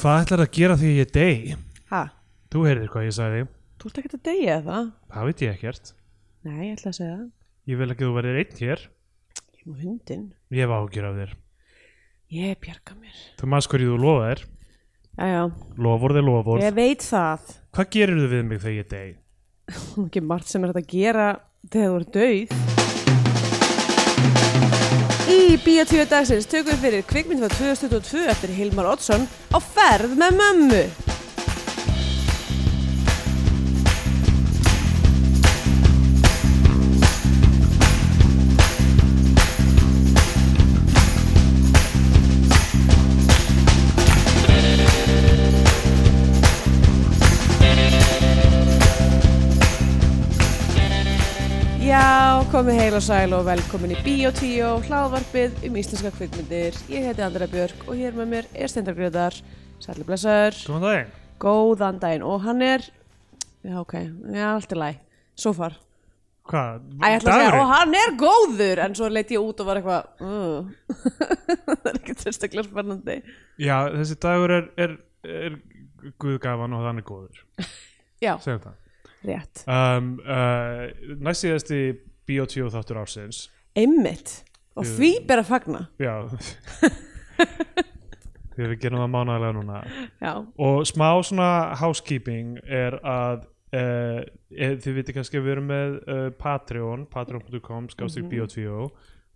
Hvað ætlar að gera því ég dey? Ha, Þú heyrðir hvað ég sagði. þú ert ekkert að deyja eða? Það veit ég ekkert. Nei, ég ætla að segja það. Ég vil ekki að þú verðir einn hér. Ég er með hundin. Ég hef ágjur af þér. Ég bjarga mér. Þú maður hverju þú lofa þér. Jæja, Loforð er loforð. ég veit það. Hvað gerir þú við mig þegar ég dey? Það er ekki margt sem er hægt að gera þegar þú eru dauð. Í Bíotvíu dagsins tökum við fyrir kvikmynd frá 2022 eftir Hilmar Oddsson á ferð með mömmu. Já, komið heil og sæl og velkomin í Bíotvíu, hlaðvarpið um íslenska kvikmyndir. Ég heiti Andra Björk og hér með mér er Steindar Gröðar, Sælur Blessaður, Góðan daginn. góðan daginn og hann er, já ok, já allt er læg, so far. Hvað? Æ, ég ætla að segja, Dagurinn? og hann er góður en svo leit ég út og var eitthvað uh. það er ekkert sérstaklega spennandi Já, þessi dagur er, er, er guðgafan og þannig góður. já, Segjum það. rétt Um, uh, næst síðasti Bíotvíu þáttur ársins. einmitt, og Jú. því ber að fagna Já. Þegar við gerum það mánaðlega núna. já, og smá svona housekeeping er að uh, er, þið viti kannski að við erum með uh, Patreon, patreon.com skástrík biotvíó,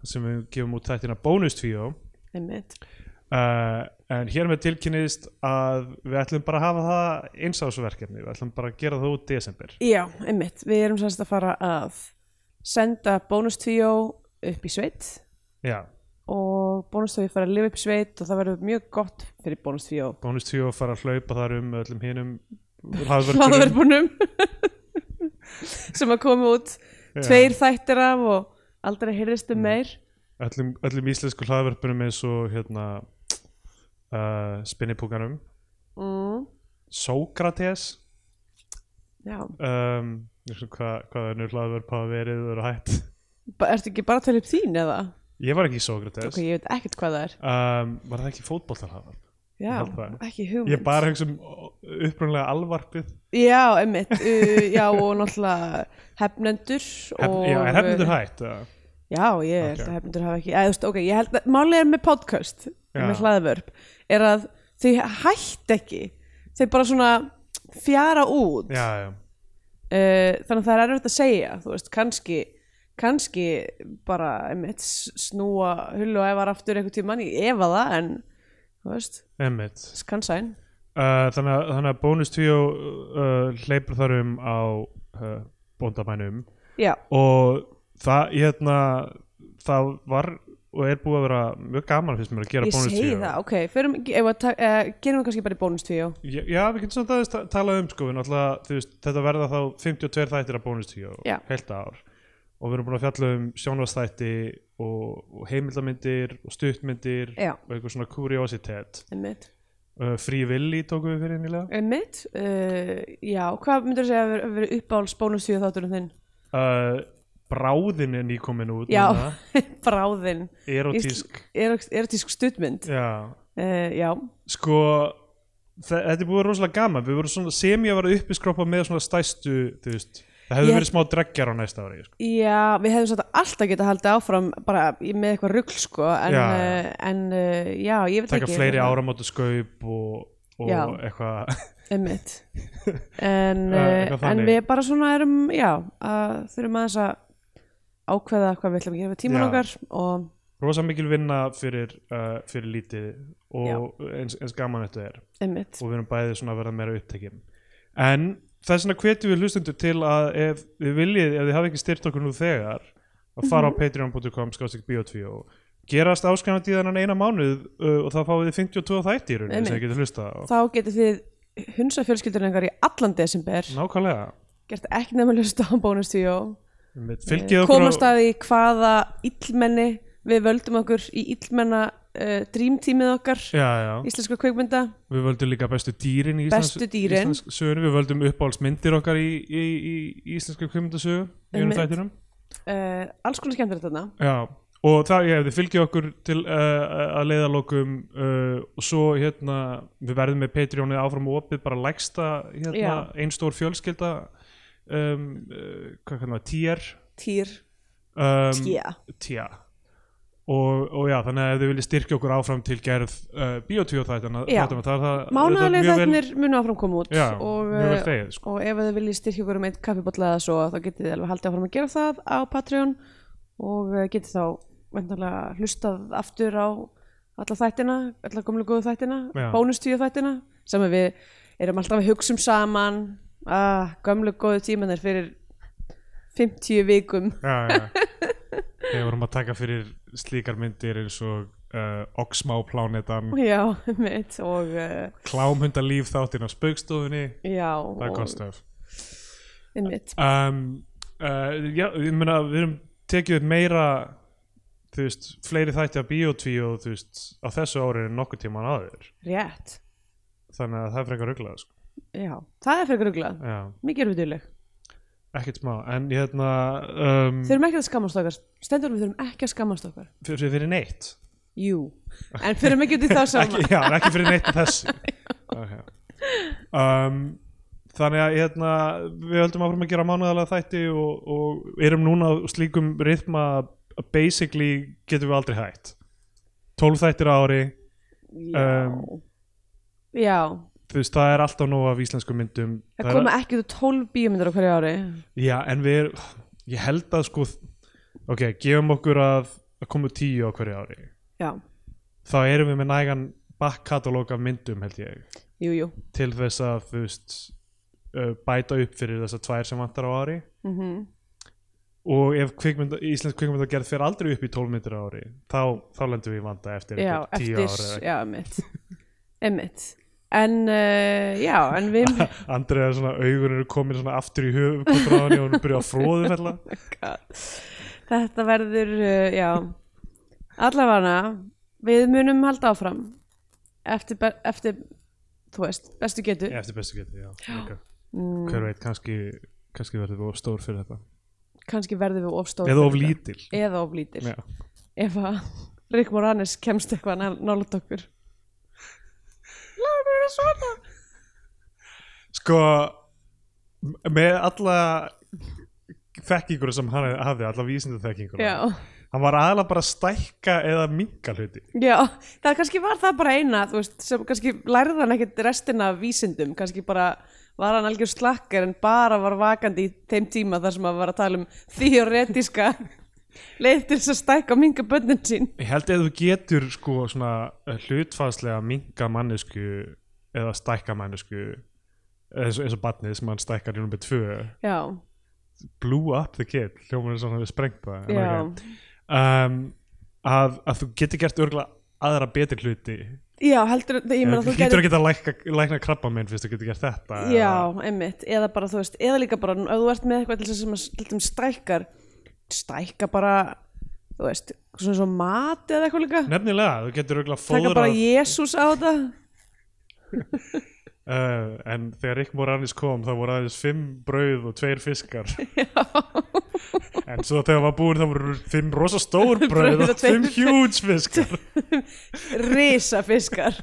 þar sem við gefum út þættina bónustvíó einmitt uh, en hér með tilkynnist að við ætlum bara að hafa það einsásverkefni, við ætlum bara að gera það út desember, já, einmitt, við erum sérst að fara að senda bónustvíó upp í sveit já, og bónustvíó fara að lifa upp í sveit og það verður mjög gott fyrir bónustvíó bónustvíó fara að hlaupa þar um með öllum hinum hraðverkunum. hlaðverfunum sem að koma út Já. Mm. tveir þættir af og aldrei heyrðist um meir öllum, öllum íslensku hlaðverpunum eins og hérna uh, spinnipúkanum mm, Sókrates já um, eins og hvað, hvað önnur hlaðvörp hafa verið og eru hætt Ba ertu ekki bara að tala upp þín eða? ég var ekki í Sókrates Ok, ég veit ekkert hvað það er. um, var það ekki fótboltarhlaðvarp Já, held það. ekki hugmynd. ég bara hugsa um upprunlega alvarpið Já, emmitt. Uh, já, og náttúrulega hefnendur. Hef, og, uh, já, er hefnundur hætt eða? Já, ég held Ok. að hefnendur hafa ekki. Æ, þú veist, ok, ég held að málið er með podcast, Já. með hlaðvörp, er að þau hætt ekki. Þau bara svona fjara út. já, já, Eh, þannig að það er erfitt að segja, þú veist, kannski kannski bara einmitt snúa hullu og efar aftur einhvern tímann, ég efa það en þú veist, emmitt kann sæn uh, þannig, að- þannig að bónus 2 uh, hleypur þar um á uh, bóndamænum Já, og það, hérna það var og er búið að vera mjög gaman fyrst mér að gera ég bónus 2 segi það, ok förum, ef að ta- eh, gerum við kannski bara í bónustvíó Já, já, við getum samt aðeins ta- talað um sko, við náttúrulega, þú veist, þetta verða þá 52 þættir að bónustíu Já. heilt ár og við erum búin að fjalla um sjónvastætti og, og heimildamindir og stuttmyndir Já. og eitthvað svona kuriositet einmitt, uh, Frí villi tókum við fyrir einnilega einmitt uh, já, hvað myndur þú segja að vera, vera uppáhalds bónustvíó þátturinn þinn uh, Bráðin er nýkomin út já, núna, bráðinn erotísk erotísk stuttmynd Já, uh, já, sko þe- þetta er búin rosalega gaman, við vorum svona sem ég var að uppiskroppa með svona stæstu þú veist, það hefði Ég- verið smá dreggjar á næsta ári sko. já við hefðum svolítið alltaf getað haldið áfram bara í- með eitthvað rugl sko en, Já. uh, en uh, já, ég hérna, veit taka ekki fleiri áramótu skaup og, og Já. eitthvað einmitt en, Já, uh, Eh, eitthvað en þannig. við bara svona erum já, að þurfum aðeins að ákveða hvað við ætlum að gera við tíman Já. okkar og rosa mikil vinna fyrir, uh, fyrir lítið og eins, eins gaman þetta er einmitt og við erum bæði svona að verða meira upptekinn en þess vegna hvetjum við hlustundur til að ef þið viljið, ef þið hafi ekki styrt okkur nú þegar að fara Mhm. á patreon.com skástík biotví og gerast áskrifandi í þennan eina mánuð uh, og þá fáið þið 52 þætti í rauninni sem Einmitt. þið getur hlusta á þá getið þið hunsa fjölskyldurinn ykkar í allan desember nákvæmlega gert ekki nefn að hlusta á bónustíó Einmitt. fylgið okkur Eh, komast að því hvaða illmenni við völdum okkur í illmenna uh, dreamtímið okkar já, já. íslenska kveikmynda Við völdum líka bestu dýrin í Íslands, Bestu dýrin. Íslensk sögur, við völdum uppáhaldsmyndir okkar í, í, í, í íslenska kvimundasögu í önum Einmitt. þættinum uh, alls konar Eh, skemmtilegt þarna Já, og það, ég hefði fylgið okkur til uh, að leiðalokum uh, og svo hérna við verðum með Patreonið áfram og opið bara lægsta hérna, Já. ein stór fjölskylda um, uh, hvað kannar það, tier Týr, um, tía tía og, og já, þannig að ef þið viljið styrkja okkur áfram til gerð uh, Bíotvíó þættina Já. þættina, það er það þetta er Mánaðarlega mjög vel- þættinir munu áfram koma út já, og, mjög vel eh, þegið sko. og ef þið viljið styrkja okkur um eitt kaffibotla eða svo þá getið þið alveg haldið áfram að gera það á Patreon og eh, getið þá vendarlega hlustað aftur á alla þættina, alla gömlu góðu þættina Já. bónustíu þættina sem að við erum alltaf að hugsa um saman að gömlu góðu tímanir fyrir 50 vikum já, já, já. þegar vorum að taka fyrir slíkar myndir eins og uh, Oxmá-plánetan já, mitt og eh, klámhundalíf þáttinn á spaukstofunni já, það er og kostöf mitt um, uh, já, ég meina við erum tekið upp meira þú veist, fleiri þætti af biotví og þú veist, á þessu ári en nokkuð tíman aður rétt, þannig að það er frekar rugglega sko. já, það er frekar ruglað já, mikið erum við duðleg ekkert smá en hérna um, þurfum ekki að skammast okkar stendur við þurfum ekki að skammast okkar fyrir, fyrir neitt jú, en fyrir mikið til það sama ekki, já, en ekki fyrir neitt af þessu okay. um, þannig að hérna, við höldum áfram að gera mánuðalega þætti og, og erum núna á slíkum rithma að basically getum við aldrei hætt 12 þættir á ári já. Um, já, þú veist, það er alltaf nóg af íslensku myndum það er- koma ekki til 12 bíómyndir á hverju ári já, en við er, ég held að sko ok, gefum okkur að, að komu 10 á hverju ári já, þá erum við með nægan backkatalóg af myndum held ég jú, jú til þess að þú veist uh, bæta upp fyrir þessar tvær sem vantar á ári mm og ef kvikmynda, íslensk kvikmyndagerð fer aldrei upp í 12 myndir á ári þá, þá lendum við í vanda eftir já, einhver 10 eftir, ára eða- já, emitt emitt en uh, já, en við Andrið er svona augun eru komin svona aftur í höfumkontraðan og hún byrja að um fróðu fella þetta verður uh, já, allavega við munum halda áfram eftir, be- eftir þú veist, bestu getu eftir bestu geti, já, Já. líka. mm, hver veit, kannski, kannski verður við of stór fyrir þetta kannski verðum við ofstóð eða of lítil eða of lítil Já. ef að Rick Moranis kemst eitthvað nál- nálægt okkur Láður er svona sko m- með alla þekkingur sem hann hafði, alla vísindu þekkingur já, hann var aðalega bara að stækka eða minka hluti já, það kannski var það bara eina þú veist, sem kannski lærði hann ekkit restina af vísindum, kannski bara var hann algjör slakkar en bara var vakandi í þeim tíma þar sem að var að tala um theoretiska leið til þess að stækka og minga bönnin sín ég held að þú getur sko svona eh, hlutfalslega minka mannesku eða stækka mannesku eins, eins og barnið sem hann stækkar í nummer 2 já, blew blew up the kid, hljómaður svona við sprengt það en já, ok. um, að, að þú getur gert örgulega aðra betri hluti já heldur, ég meina þú þú hlýtur getur að geta lækna, lækna krabba minn fyrst þú getur gert þetta Já, einmitt, eða bara þú veist eða líka bara, ef þú ert með eitthvað til þess að sem að stildum stækkar, stækka bara þú veist, svona svo mat eða eitthvað líka, nefnilega, þú getur örgulega taka fóðra bara Jésús á þetta uh, en þegar Rick Moranis kom þá voru aðeins fimm brauð og tveir fiskar en svo þegar hann var búin þá voru fimm rosa stór brauð Brauð og og tveir fimm huge fiskar risafiskar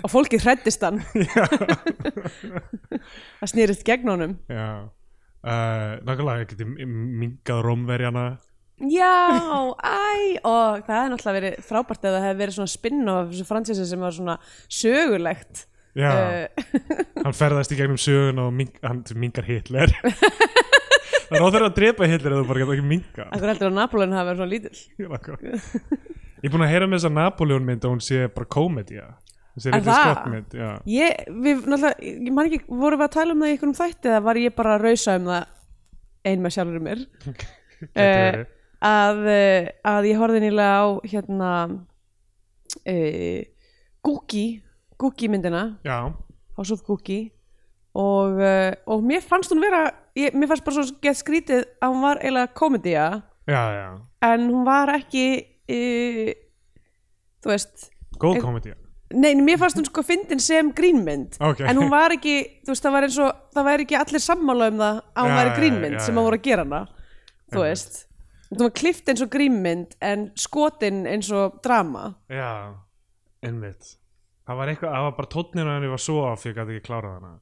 og fólkið hrættist hann það snýrist gegn honum já Uh, nákvæmlega geti mingað rómverjana Já, æ, og það er náttúrulega verið frábært ef það hefði verið svona spinn af þessu fransísi sem var svona sögulegt já, Eh, hann ferðast í gegnum söguna og mink, hann mingar Hitler það er óþæra að drepa Hitler eða þú bara getur ekki minga Akkur heldur að Napóleon hafi verið svona lítill ég er búin að heyra með þessa Napoleon mynd og hún sé bara komedía þessi Er reyndi það? skottmynd já. Ég, við, náttúrulega, ég man ekki, vorum við að tala um það í einhvernum þætti eða var ég bara að rausa um það ein með sjálfur mér Gæti Eh, verið. að, eh, að ég horfði nýlega á hérna uh, Gookie, Gookie myndina já, House of Gookie og, uh, og mér fannst hún vera ég, mér fannst bara svo gett skrítið að hún var eiginlega komedía já, já en hún var ekki uh, þú veist Góð En- komedía Nei, mér fannst hún sko fyndin sem grínmynd Ok. en hún var ekki, þú veist, það var eins og það væri ekki allir sammála um það að hún Já, væri já, grínmynd já, sem að já. voru að gera hana þú Einmitt. veist Þú var klift eins og grímmynd en skotin eins og drama Já, einmitt Það var eitthvað, það var bara tónninn að henni var svo af ég gæti ekki klárað hana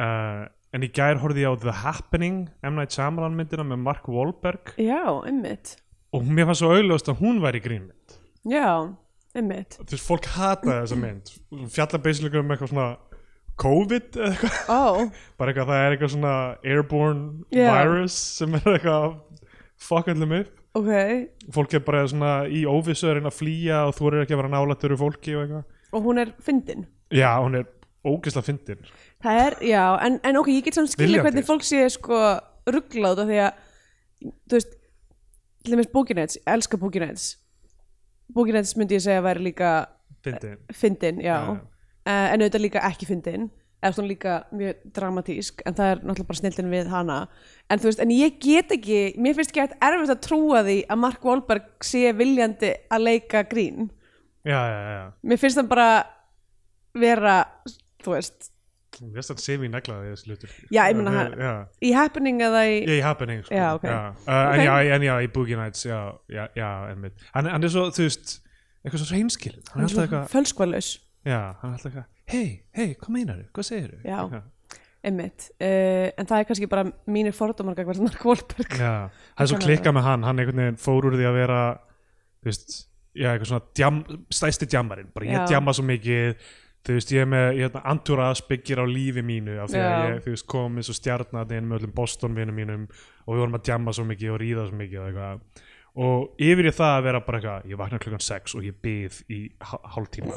uh, En í gær horfði ég á The Happening M. Night Shyamalan myndina með Mark Wahlberg Já, einmitt og mér fannst svo auðljóðst að hún væri grínmynd Já, einmitt Þú veist, fólk hataði þessa mynd Hún fjallar basically um eitthvað svona COVID eða eitthvað Ó, bara eitthvað það er eitthvað svona airborne Já. virus sem er eitthvað að fuck allum upp ok fólk er bara svona í óvissu að reyna að flýja og þú eru ekki að vera nálættur úr fólki og eitthvað Og hún er fyndin Já, hún er ógeðslega fyndin Það er, já, en, en ok, ég get samt skilja Viljandi. hvernig fólk sé sko rugglað út af því að, þú veist, til dæmis Booginets, elska Booginets. Booginets myndi ég segja að væri líka fyndin fyndin, já, Já, já. Uh, en auðvitað líka ekki fyndin, eða svona líka mjög dramatísk, en það er náttúrulega bara snildin við hana. En þú veist, en ég get ekki, mér finnst ekki eitthvað erfitt að trúa því að Mark Wahlberg sé viljandi að leika grín. Já, já, já, Mér finnst það bara vera, þú veist, Mér finnst hann semi neglaði þessi hlutur Já, ég meina hann- Já, í happening eða í... ég í happening sko. Já, ok. já. Uh, En, Ok. já, en já, í Boogie Nights Já, já, já einmitt hann, hann er svo, þú veist, eitthvað svo reynskilin Hann er alltaf eitthvað, fölskvalaus já, hann er alltaf eitthvað Hei, hei, hvað meinaru, hvað segirðu? Já. einmitt, uh, en það er kannski bara mínir fordómar gagvart Mark Wahlberg já Það er svo Þannig að- klikkað með hann, hann einhvern veginn fór úr því að vera Þú veist, já, eitthvað svona djam, Stæsti djammarinn, bara ég Já. djamma svo mikið Þú veist, ég er með, ég hérna, Anturas byggir á lífi mínu af því að Já. ég, þú veist, kom eins og stjarnarni inn með öllum Boston-vinum mínum og við vorum að djamma svo mikið og ríða svo mikið og eitthvað og yfir í það að vera bara eitthvað ég vakna klukkan 6 og ég byð í hálftíma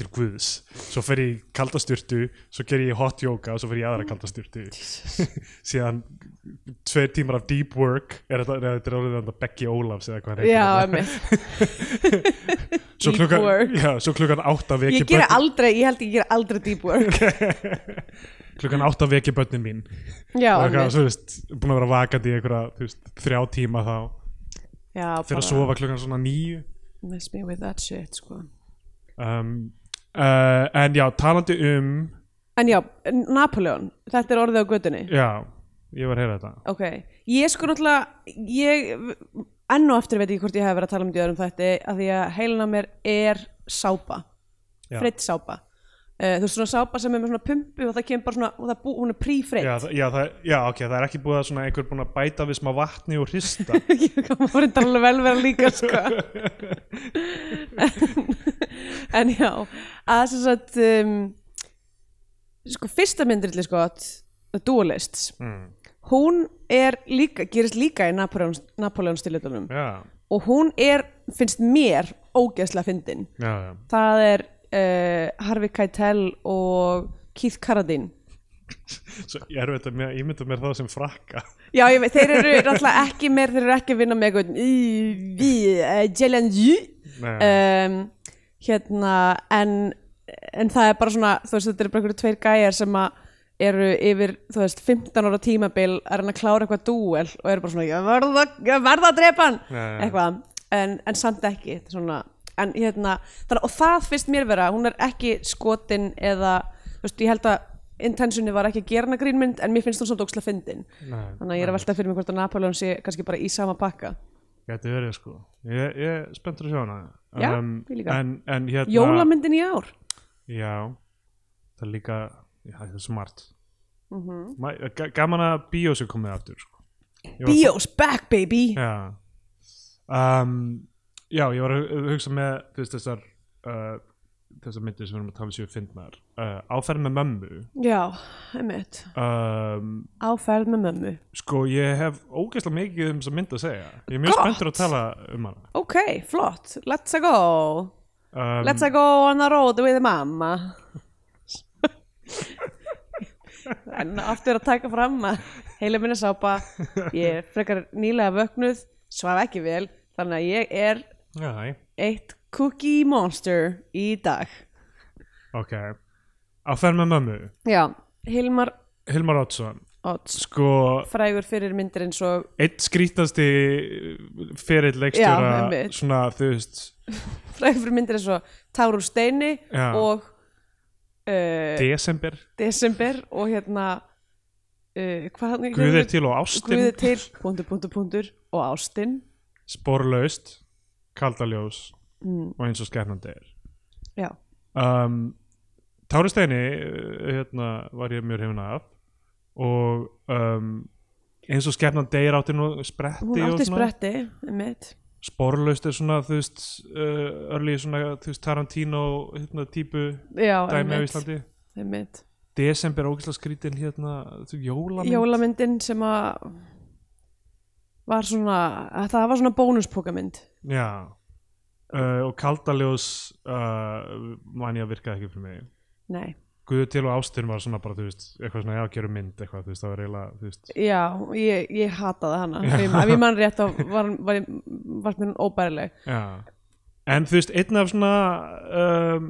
til guðs svo fer ég í kaldasturtu, svo ger ég hot yoga og svo fer ég í aðra kaldasturtu síðan tveir tímar af deep work er þetta, neða, þetta er orðið þetta Becky Ólafs eða hvað hann heitir já, þarna. einmitt, svo deep klukkan, work. já, svo klukkan 8 að ég vekja gera aldrei ég held ég gera aldrei deep work börn klukkan 8 að vekja börnin mín já, og eitthvað, einmitt þú veist, búin að vera vakandi í einhverja, þú veist, þrjá tíma þá já, fyrir að sofa klukkan svona nýju miss me with that shit sko. um, uh, en já, talandi um en já, Napoleon þetta er orðið á götunni já, ég var að heyra þetta ok, ég sko náttúrulega ég, enn og aftur veit ég hvort ég hef verið að tala um djöður um þetta, að því að heilin á mér er sápa Já. freitt sápa uh, þú veist svona sápa sem er með svona pumpu og það kemur bara svona, og það bú, hún er prífreitt já, það, já, það, já, ok, það er ekki búið að svona einhver búin að bæta við smá vatni og hrista ég kom að reynda alveg vel vera líka sko. en, en já að sem sagt um, sko fyrsta myndrilli sko The Duelists mm, hún er líka, gerist líka í Napoleon, Napoleon stilitunum já, og hún er, finnst mér ógeðslega fyndin já, já það er uh, Harvey Keitel og Keith Carradine Svo ég er veit að mér- ímynda mér það sem frakka Já, ég veit, þeir eru náttúrulega ekki meir, þeir eru ekki að vinna með eitthvað í, í, uh, Jelen Yu Nei, um, hérna, en, en það er bara svona, þú veist, þetta eru bara einhverju tveir gæjar sem að eru yfir, þú veist, 15 ára tímabil að reyna að klára eitthvað dúel og eru bara svona, ég verða, ég verða að drepa hann, Já, já, já. eitthvað, en, en samt ekki, þetta er svona, en hérna, þannig, og það finnst mér vera, hún er ekki skotin eða, þú veist, ég held að intentioni var ekki að gera hana grínmynd en mér finnst hún svolítið ókslega fyndin Nei, þannig að ég er að velta fyrir mig hvort að Napoleon sé kannski bara í sama pakka gæti verið sko ég, ég er spenntur að sjá hana Já, ég líka. en, en hérna Jólamyndin í ár já, það er líka já, það er smart Mhm. Ma, ga- gaman að bíós er komið aftur sko. Ég var- Bios back baby Já um, Já, ég var að hu- hugsa með þú veist, þessar uh, þessar myndir sem við erum að tala um séu fyndnar uh, Áferð með mömmu Já, einmitt um, Áferð með mömmu Sko, ég hef ógeðslega mikið um þessa mynd að segja Ég er mjög Gott. spenntur að tala um hana Ok, flott, let's a go um, Let's a go on a road with mamma En aftur að taka fram að heila minna sápa Ég er frekar nýlega vöknuð Svaf ekki vel Þannig að ég er Já, eitt cookie monster í dag ok Áferð með mömmu Já, Hilmar Hilmar Oddsson Odds Sko, frægur fyrir myndir eins og eitt skrítasti eh, ferill leikstjóra Já, einmitt. svona, þú veist frægur fyrir myndir eins og Tárur Steini Já. og uh, desember Desember og hérna uh, uh, hvað, Guð er til og ástin, Guði til, punktur, punktur, punktur og ástin sporlaust, kaldaljós mm, og eins og skernandi er. já, um, Táristeini uh, hérna, var ég mjög hefna af og um, eins og skefnan deyr átti nú spretti hún og átti svona spretti mitt, sporlaust er svona þú veist uh, örlí svona þú veist Tarantino hérna, típu já, dæmi á einmitt, Íslandi einmitt. desember ógæsla skrítin hérna þú, jólamynd jólamyndin sem að var svona, að það var svona bónuspókamynd já Uh, og kaldaljós uh, man ég að virka ekki fyrir mig nei, Guðu til og ástin var svona bara þú veist eitthvað svona já, gerum mynd eitthvað þú veist það var eiginlega þú veist já, ég, ég hataði hana ef ég- ef ég mann rétt þá var, var, var mér hún óbærileg Já. En þú veist, einn af svona um,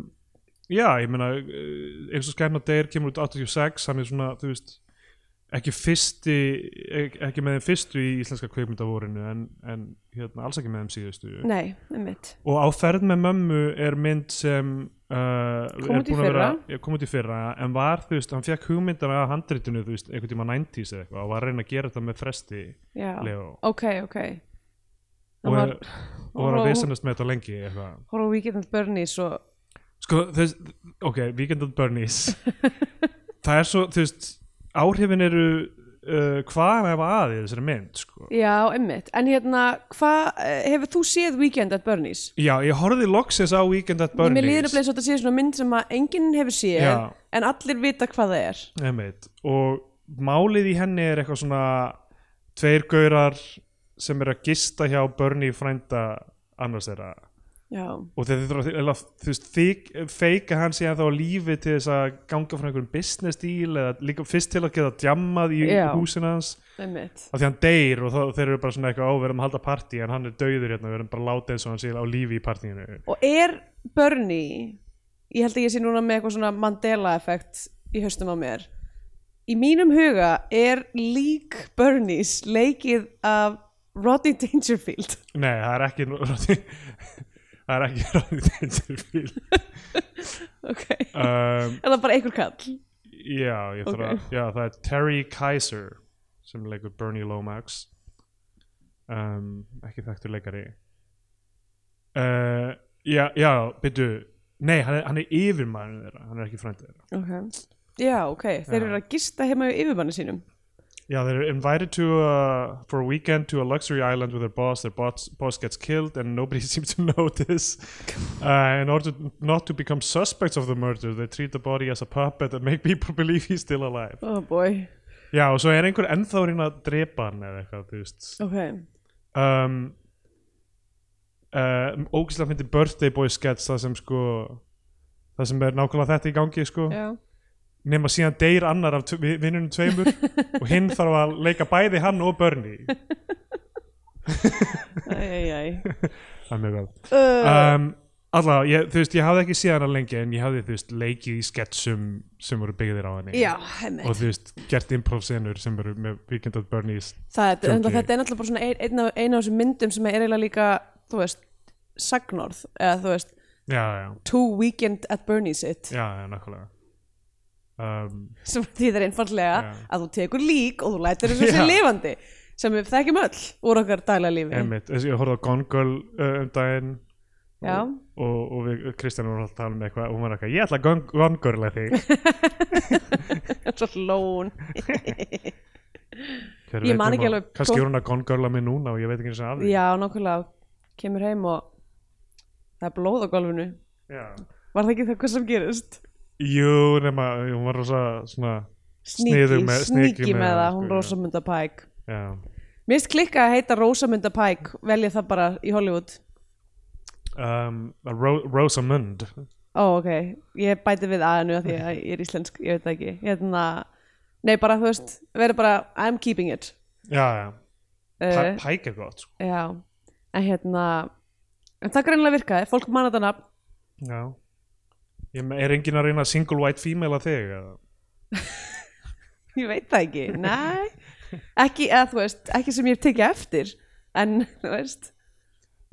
já, ég meina uh, eins og skærna deyr kemur út 86 hann er svona, þú veist ekki fyrsti, ek- ekki með þeim fyrstu í íslenska kveikmyndavorinu en, en hérna, alls ekki með þeim síðustu nei, einmitt, og á ferð með mömmu er mynd sem uh, Kom er út í búin að vera- fyrra. já, kom út í fyrra en var, þú veist, hann fekk hugmyndar að handritinu, þú veist, einhvern tíma 90s eða eitthvað og var að reyna að gera þetta með fresti já Leo, ok, ok og, það er, var og var og- að vesanast með þetta lengi eitthvað horf á Weekend at Bernie's og Sko, þess, ok, Weekend at Bernie's Það er svo, þú veist áhrifin eru uh, hvað ef að í þessari mynd sko. Já, einmitt. En hérna, hvað, eh, hefur þú séð Weekend at Bernie's? Já, ég horfði loksins á Weekend at Mér líður að Bernie's bleið svo að þetta sé svona mynd sem að enginn hefur séð, Já. en allir vita hvað það er. einmitt, og málið í henni er eitthvað svona tveir gaurar sem eru að gista hjá Bernie frænda annars þeirra Já, og þeir þurfa að- eða, þú veist, þyk, feika hann síðan þá á lífi til þess að ganga frá einhverjum business deal eða líka fyrst til að geta djammað í Já. húsinu hans einmitt. af því hann deyr og þá, þeir eru bara svona eitthvað áverðum að halda partí en hann er dauður hérna, við erum bara að láta eins og hann sé á lífi í partíinu Og er Bernie, ég held að ég sé núna með eitthvað svona Mandela-effekt í höstum á mér, í mínum huga er lík Bernie's leikið af Rodney Dangerfield. nei, það er ekki nú- það er ekki Rodney Dangerfield ok. um, Er það bara einhver kall? já, ég þarf að já, það er Terry Kaiser sem leikur Bernie Lomax um, ekki þekktur leikari uh, já, já, byrju nei, hann er, hann er yfirmaður þeirra hann er ekki frændið þeirra Ok. Já, ok. Þeir Já. eru að gista heima í yfirmanni sínum. Yeah, they're invited to uh, for a weekend to a luxury island with their boss. Their boss, boss gets killed, and nobody seems to notice. Uh, in order not to become suspects of the murder, they treat the body as a puppet and make people believe he's still alive. Oh boy. Já, og svo er einhver ennþá að reyna að drepa hann eða eitthvað, þú veist. Ok. Um, uh, ógislega fyndi birthday boy sketch það sem sko, það sem er nákvæmlega þetta í gangi sko. Já. nema síðan deyr annar af tve- vi- vinnunum tveimur og hinn þarf að leika bæði hann og Bernie Æjæjæj það er mjög vel uh, um, allavega, ég, þú veist, ég hafði ekki séð hana lengi en ég hafði, þú veist, leikið í sketsum sem voru byggðir á henni Já, og hemmið þú veist, gert improv-senur sem voru með Weekend at Bernie's Þetta er Djóki. náttúrulega bara svona ein, ein, af- ein af þessum myndum sem er eiginlega líka, þú veist, sagnorð eða þú veist, já, já, Two Weekend at Bernie's It já, já, nákvæmlega um, sem þýðir einfallega Já. að þú tekur lík og þú lætir þessu Já. sér lifandi sem við þekkjum öll úr okkar daglega lífi einmitt, þess- ég horfði á Gone Girl uh, um daginn Já, og, og við, Kristján var alltaf að tala um eitthvað og hún var eitthvað, ég ætla að Gone- Gone Girl að þig svo lón Hver Ég veit man nema- ekki alveg- kannski er hún að Gone Girl að mig núna og ég veit ekki eins og að því Já, nákvæmlega, kemur heim og það er blóð á golfinu Já. Var það ekki það hvað sem gerist? jú, nema, hún var rosa svona, Sniðug Sníki, með- sneaky sníki með með það, það, hún sko, já. Rosamunda Pike já Mér finnst klikka að heita Rosamunda Pike velja það bara í Hollywood um, Ro Rosamund Ó, ok, ég bæti við aðinu að því að ég er íslensk, ég veit það ekki hérna, Nei, bara, þú veist, verður bara I'm keeping it já, já, uh, uh, Pike er gott sko. Já, en hérna En það greinlega virkaði, fólk manna þetta nafn já Ég me- er enginn að reyna single white female að þig eða? Ég veit það ekki, nei Ekki, eða þú veist, ekki sem ég hef tekið eftir En, þú veist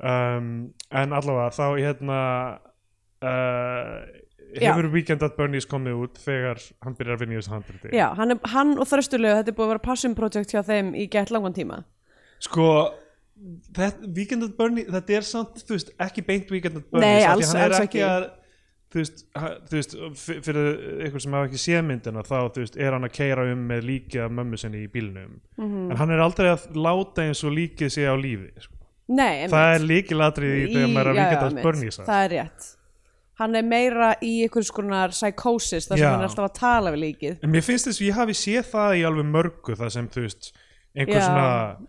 um, en allavega þá hérna uh, Já. hefur Weekend at Bernie's komið út þegar hann byrjar að vinna í þessu handriti Já, hann, er, hann og þröstulega þetta er búið að vera passion project hjá þeim í gett langan tíma sko þetta, Weekend at Bernie, þetta er samt þú veist, ekki beint Weekend at Nei, Bernie's af því alls- hann er alls ekki ekki. að þú veist, ha- þú veist f- fyrir ykkur sem hafa ekki séð myndina þá þú veist, er hann að keira um með líkið af mömmu sinni í bílnum Mhm. en hann er aldrei að láta eins og líkið sé á lífi sko. Nei, einmitt. það er líkilatrið í þegar maður er að já, Weekend já, at einmitt. Bernie's sko. að. Það er rétt Hann er meira í einhvers konar psychosis þar sem Já. hann er alltaf að tala við líkið en mér finnst þess að ég hafi séð það í alveg mörgu það sem þú veist, einhver Já. svona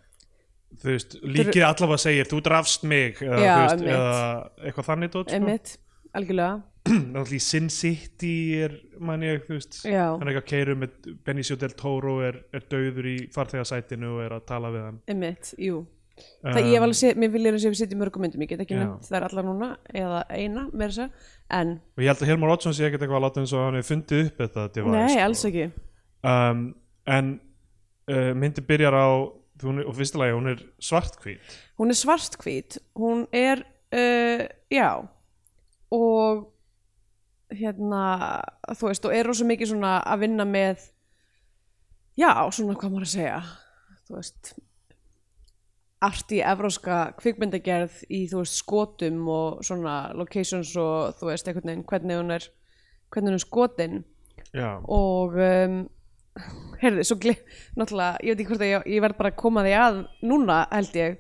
þú veist, líkið allavega segir þú drafst mig eða, Já, þú veist, einmitt. eða eitthvað þannig dót, sko. Einmitt, algjörlega náttúrulega í Sin City er man ég, þú veist Já. hann er ekki að keiru með Benicio del Toro er, er döður í farþegarsætinu og er að tala við hann Um, Einmitt, jú Það ég hef alveg séð, mér vil ég að sé við sitja í mörgum myndum ég get ekki Já. nefnt þær allar núna eða eina, meira þess að en, og ég held að Helmar Oddsson sé ekkert eitthvað að láta eins og hann hefur fundið upp þetta device, nei, sko. alls ekki um, en uh, myndi byrjar á þú- hún, er- og fyrsta lagi, hún er svartkvít hún er svartkvít, hún er uh, já og hérna, þú veist, og er rosa mikið svona að vinna með já, svona hvað maður að segja þú veist art í evróska kvikmyndagerð í, þú veist, skotum og svona locations og þú veist, einhvern veginn hvernig hún er hvernig hún er skotin já, og um, heyrðu, svo gle- náttúrulega, ég veit ekki hvort að ég, ég verð bara að koma því að núna, held ég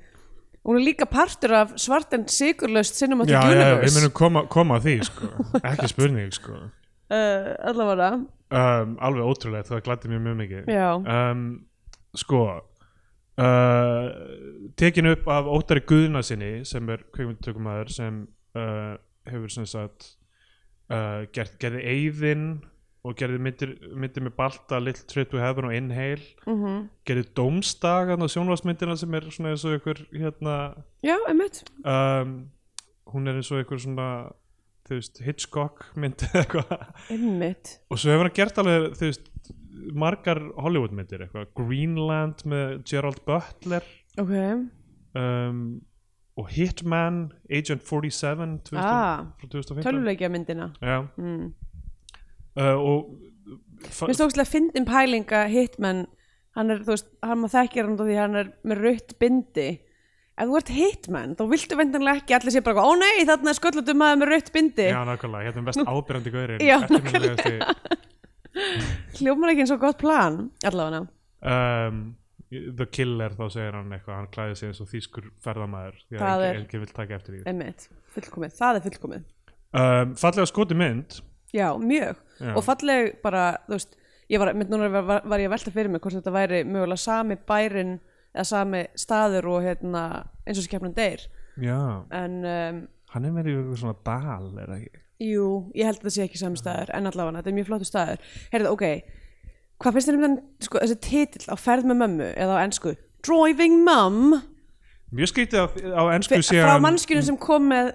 hún er líka partur af svart en sigurlaust Cinematic já, já, Universe við munum koma, koma að því sko. ekki spurning sko. uh, allavega, um, alveg ótrúlega, það glætti mér mjög mikið já, um, sko uh, tekin upp af Óttari Guðna sinni sem er kveikmyndutökumæður sem uh, hefur sem sagt uh, gert, gerði Eyðin og gerði myndir, myndir með Balta Little Trip to Heaven og Inhale mhm gerði Dómstagan og sjónvarsmyndina sem er svona eins og ykkur hérna já, einmitt um, hún er eins og ykkur svona þú veist Hitchcock mynd eða eitthvað einmitt, og svo hefur hann gert alveg þú veist, margar Hollywood myndir eitthvað, Greenland með Gerald Butler ok um, og Hitman Agent 47 2000, ah, frá 2015 tölvuleikja myndina Já, mm. uh, og fa- mér stókslega fyndin pælinga Hitman hann er, þú veist, hann maður þekkir hann út af því að hann er með rautt bindi ef þú ert Hitman, þá viltu vendanlega ekki allir sé bara, eitthvað, ó nei, þarna er sköllutum maður með rautt bindi Já, nákvæmlega, hérna er mest ábyrjandi gaurinn Já, nákvæmlega hljómar ekki eins og gott plan allavega um, The Killer, þá segir hann eitthvað hann klæði sig eins og þýskur ferðamaður því Það að er- enginn engin vill taka eftir því einmitt, fullkomið, það er fullkomið um, Fallega skoti mynd já, mjög, Já. og falleg bara þú veist, ég var, mynd núna var, var, var ég að velta fyrir mig hvort þetta væri mögulega sami bærin eða sami staður og hérna, eins og skefnum deyr Já, en um, hann er með í ykkur svona dal, er það ekki? jú, ég held að það sé ekki sami staður en allavega, þetta er mjög flottu staður heyrðu, ok, hvað finnst þér um þann sko, þessi titill á ferð með mömmu eða á ensku, Driving Mum Mjög skrítið að á Fe- ennsku sé frá hann- mannskjunum sem kom með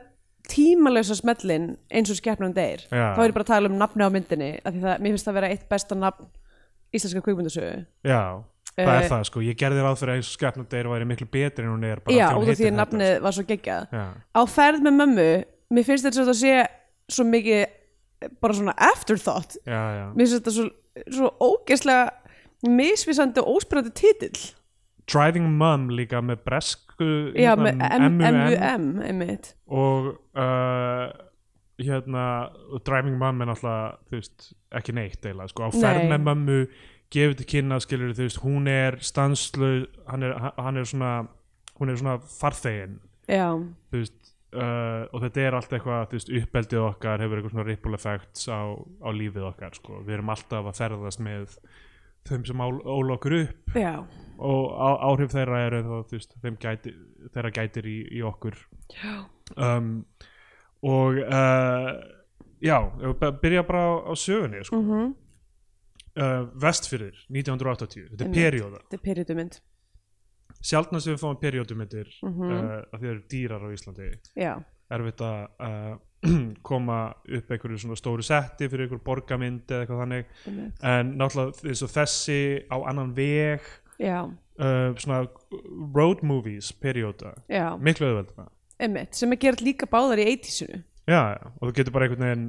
tímalösa smellin eins og skepnum deyr Já. þá er ég bara að tala um nafni á myndinni af því það, mér finnst það vera eitt besta nafn íslenska kvikmyndasögu Já, það er Eh, það sko, ég gerði ráð fyrir að eins og skepnadeyr væri miklu betri en hún er bara já, hún út af því heitir að þetta. nafnið var svo geggjað Já, á ferð með mömmu, mér finnst þetta svo að sé svo mikið eh, bara svona afterthought já, já mér finnst þetta svo, svo ógeðslega misvisandi og óspyrandi titill Driving Mum líka með bresku já, hérna, með M- MUM MUM einmitt, og uh, hérna og Driving Mum er náttúrulega þú veist, ekki neitt eiginlega sko, á ferð Nei. með mömmu gefið til kynna skilur þú veist, hún er stanslu hann er, hann er svona hún er svona farþegin já, þú veist Uh, og þetta er allt eitthvað, þú veist, uppeldið okkar hefur eitthvað svona ripple effects á, á lífið okkar, sko, við erum alltaf að ferðast með þeim sem ál- óla okkur upp já og á, áhrif þeirra eru þá, þú veist, þeim gæti, þeirra gætir í, í okkur um, og uh, já, ef við bara- byrja bara á, á sögunni, sko mm -hmm. uh, Vestfyrir, 1980, þetta er Einmitt. perioda þetta er periodumind sjaldna sem við fáum periodumindir mm Mhm. uh, að því það eru dýrar á Íslandi já, erfitt að uh, koma upp einhverju svona stóru setti fyrir einhver borgamynd eða eitthvað þannig einmitt, en náttúrulega eins og þessi á annan veg já uh, svona road movies perioda, Já, miklu auðveldina einmitt, sem er gerð líka báðar í 80-sinu já, já, og þú getur bara einhvern veginn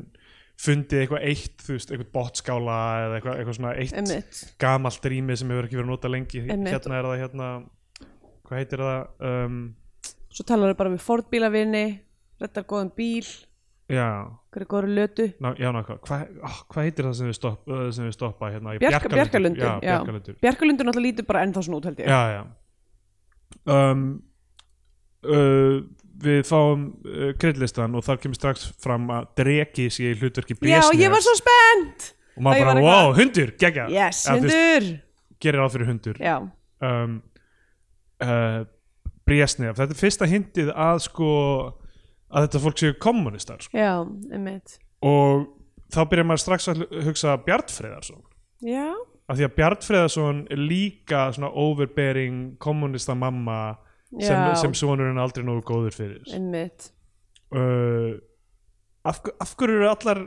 fundið eitthvað eitt, þú veist, eitthvað botskála eða eitthvað, eitthvað svona eitt Einmitt. gamalt rými sem hefur ekki verið að nota lengi Einmitt. hérna er það hérna hvað heitir það um, Svo talar þau bara við Ford bílavinni, rettar góðan bíl, já, hverju góður lötu. ná, já, ná, hvað hva, oh, hvað heitir það sem við stoppa, sem við stoppa hérna, í Bjarka, Bjarkalundur? Bjarkalundur, já, Bjarkalundur. Bjarkalundur náttúrulega lítur bara ennþá svona út held ég. já, já. Um, uh, við fáum uh, kreidlistan og þar kemur strax fram að dregi sé í hlutverki Já, ég var Brésnefs svo spennt! og maður ég var bara, eitthvað- wow, hundur, geggja Yes, Eða, þú veist, hundur! gerir ráð fyrir hundur Já, um, uh, Brésnef þetta er fyrsta hindið að sko að þetta fólk séu kommunistar sko. já, einmitt. og þá byrjar maður strax að hl- hugsa Bjartfreðarsson Já, af því að Bjartfreðarsson er líka svona overbearing kommunista mamma sem, Já. sem sonurinn er aldrei nógu góður fyrir einmitt. uh, af, hver- af hverju eru allar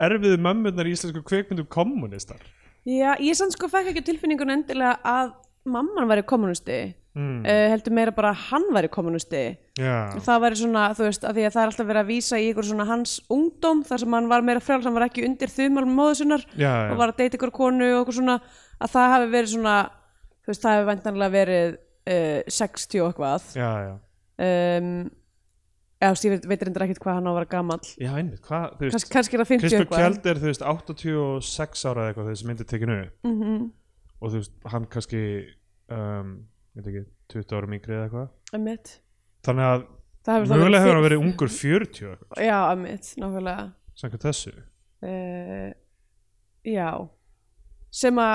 erfiðu mömmurnar í íslensku kveikmyndum kommunistar Já, ég sann sko fekk ekki á tilfinningun endilega að mamman væri kommunisti mm. uh, heldur meira bara að hann væri kommunisti já, það væri svona, þú veist, af því að það er alltaf verið að vísa í ykkur svona hans ungdóm þar sem hann var meira frjáls, hann var ekki undir þumálum móðusinnar já, og já, var að deita ykkur konu og okkur svona að það hafi verið svona, þú veist, það hafi væntanlega verið uh, 60 og eitthvað já, já. um, eða, þú veist, ég veit, veit reyndir ekkert hvað hann á að vera gamall já einmitt, hvað, þú veist Kans, kannski er það 50 Kristján eitthvað Kjeld er, þú veist, 86 ára eða eitthvað þegar þessi mynd er tekinu mm og þú veist, hann kannski um, ég veit ekki, 20 árum yngri eða eitthvað Einmitt. þannig að Það hefur þá verið mögulega hefur hann fimm- verið ungur 40 eða eitthvað, Já, emitt, nákvæmlega samkvæmt þessu uh, já sem að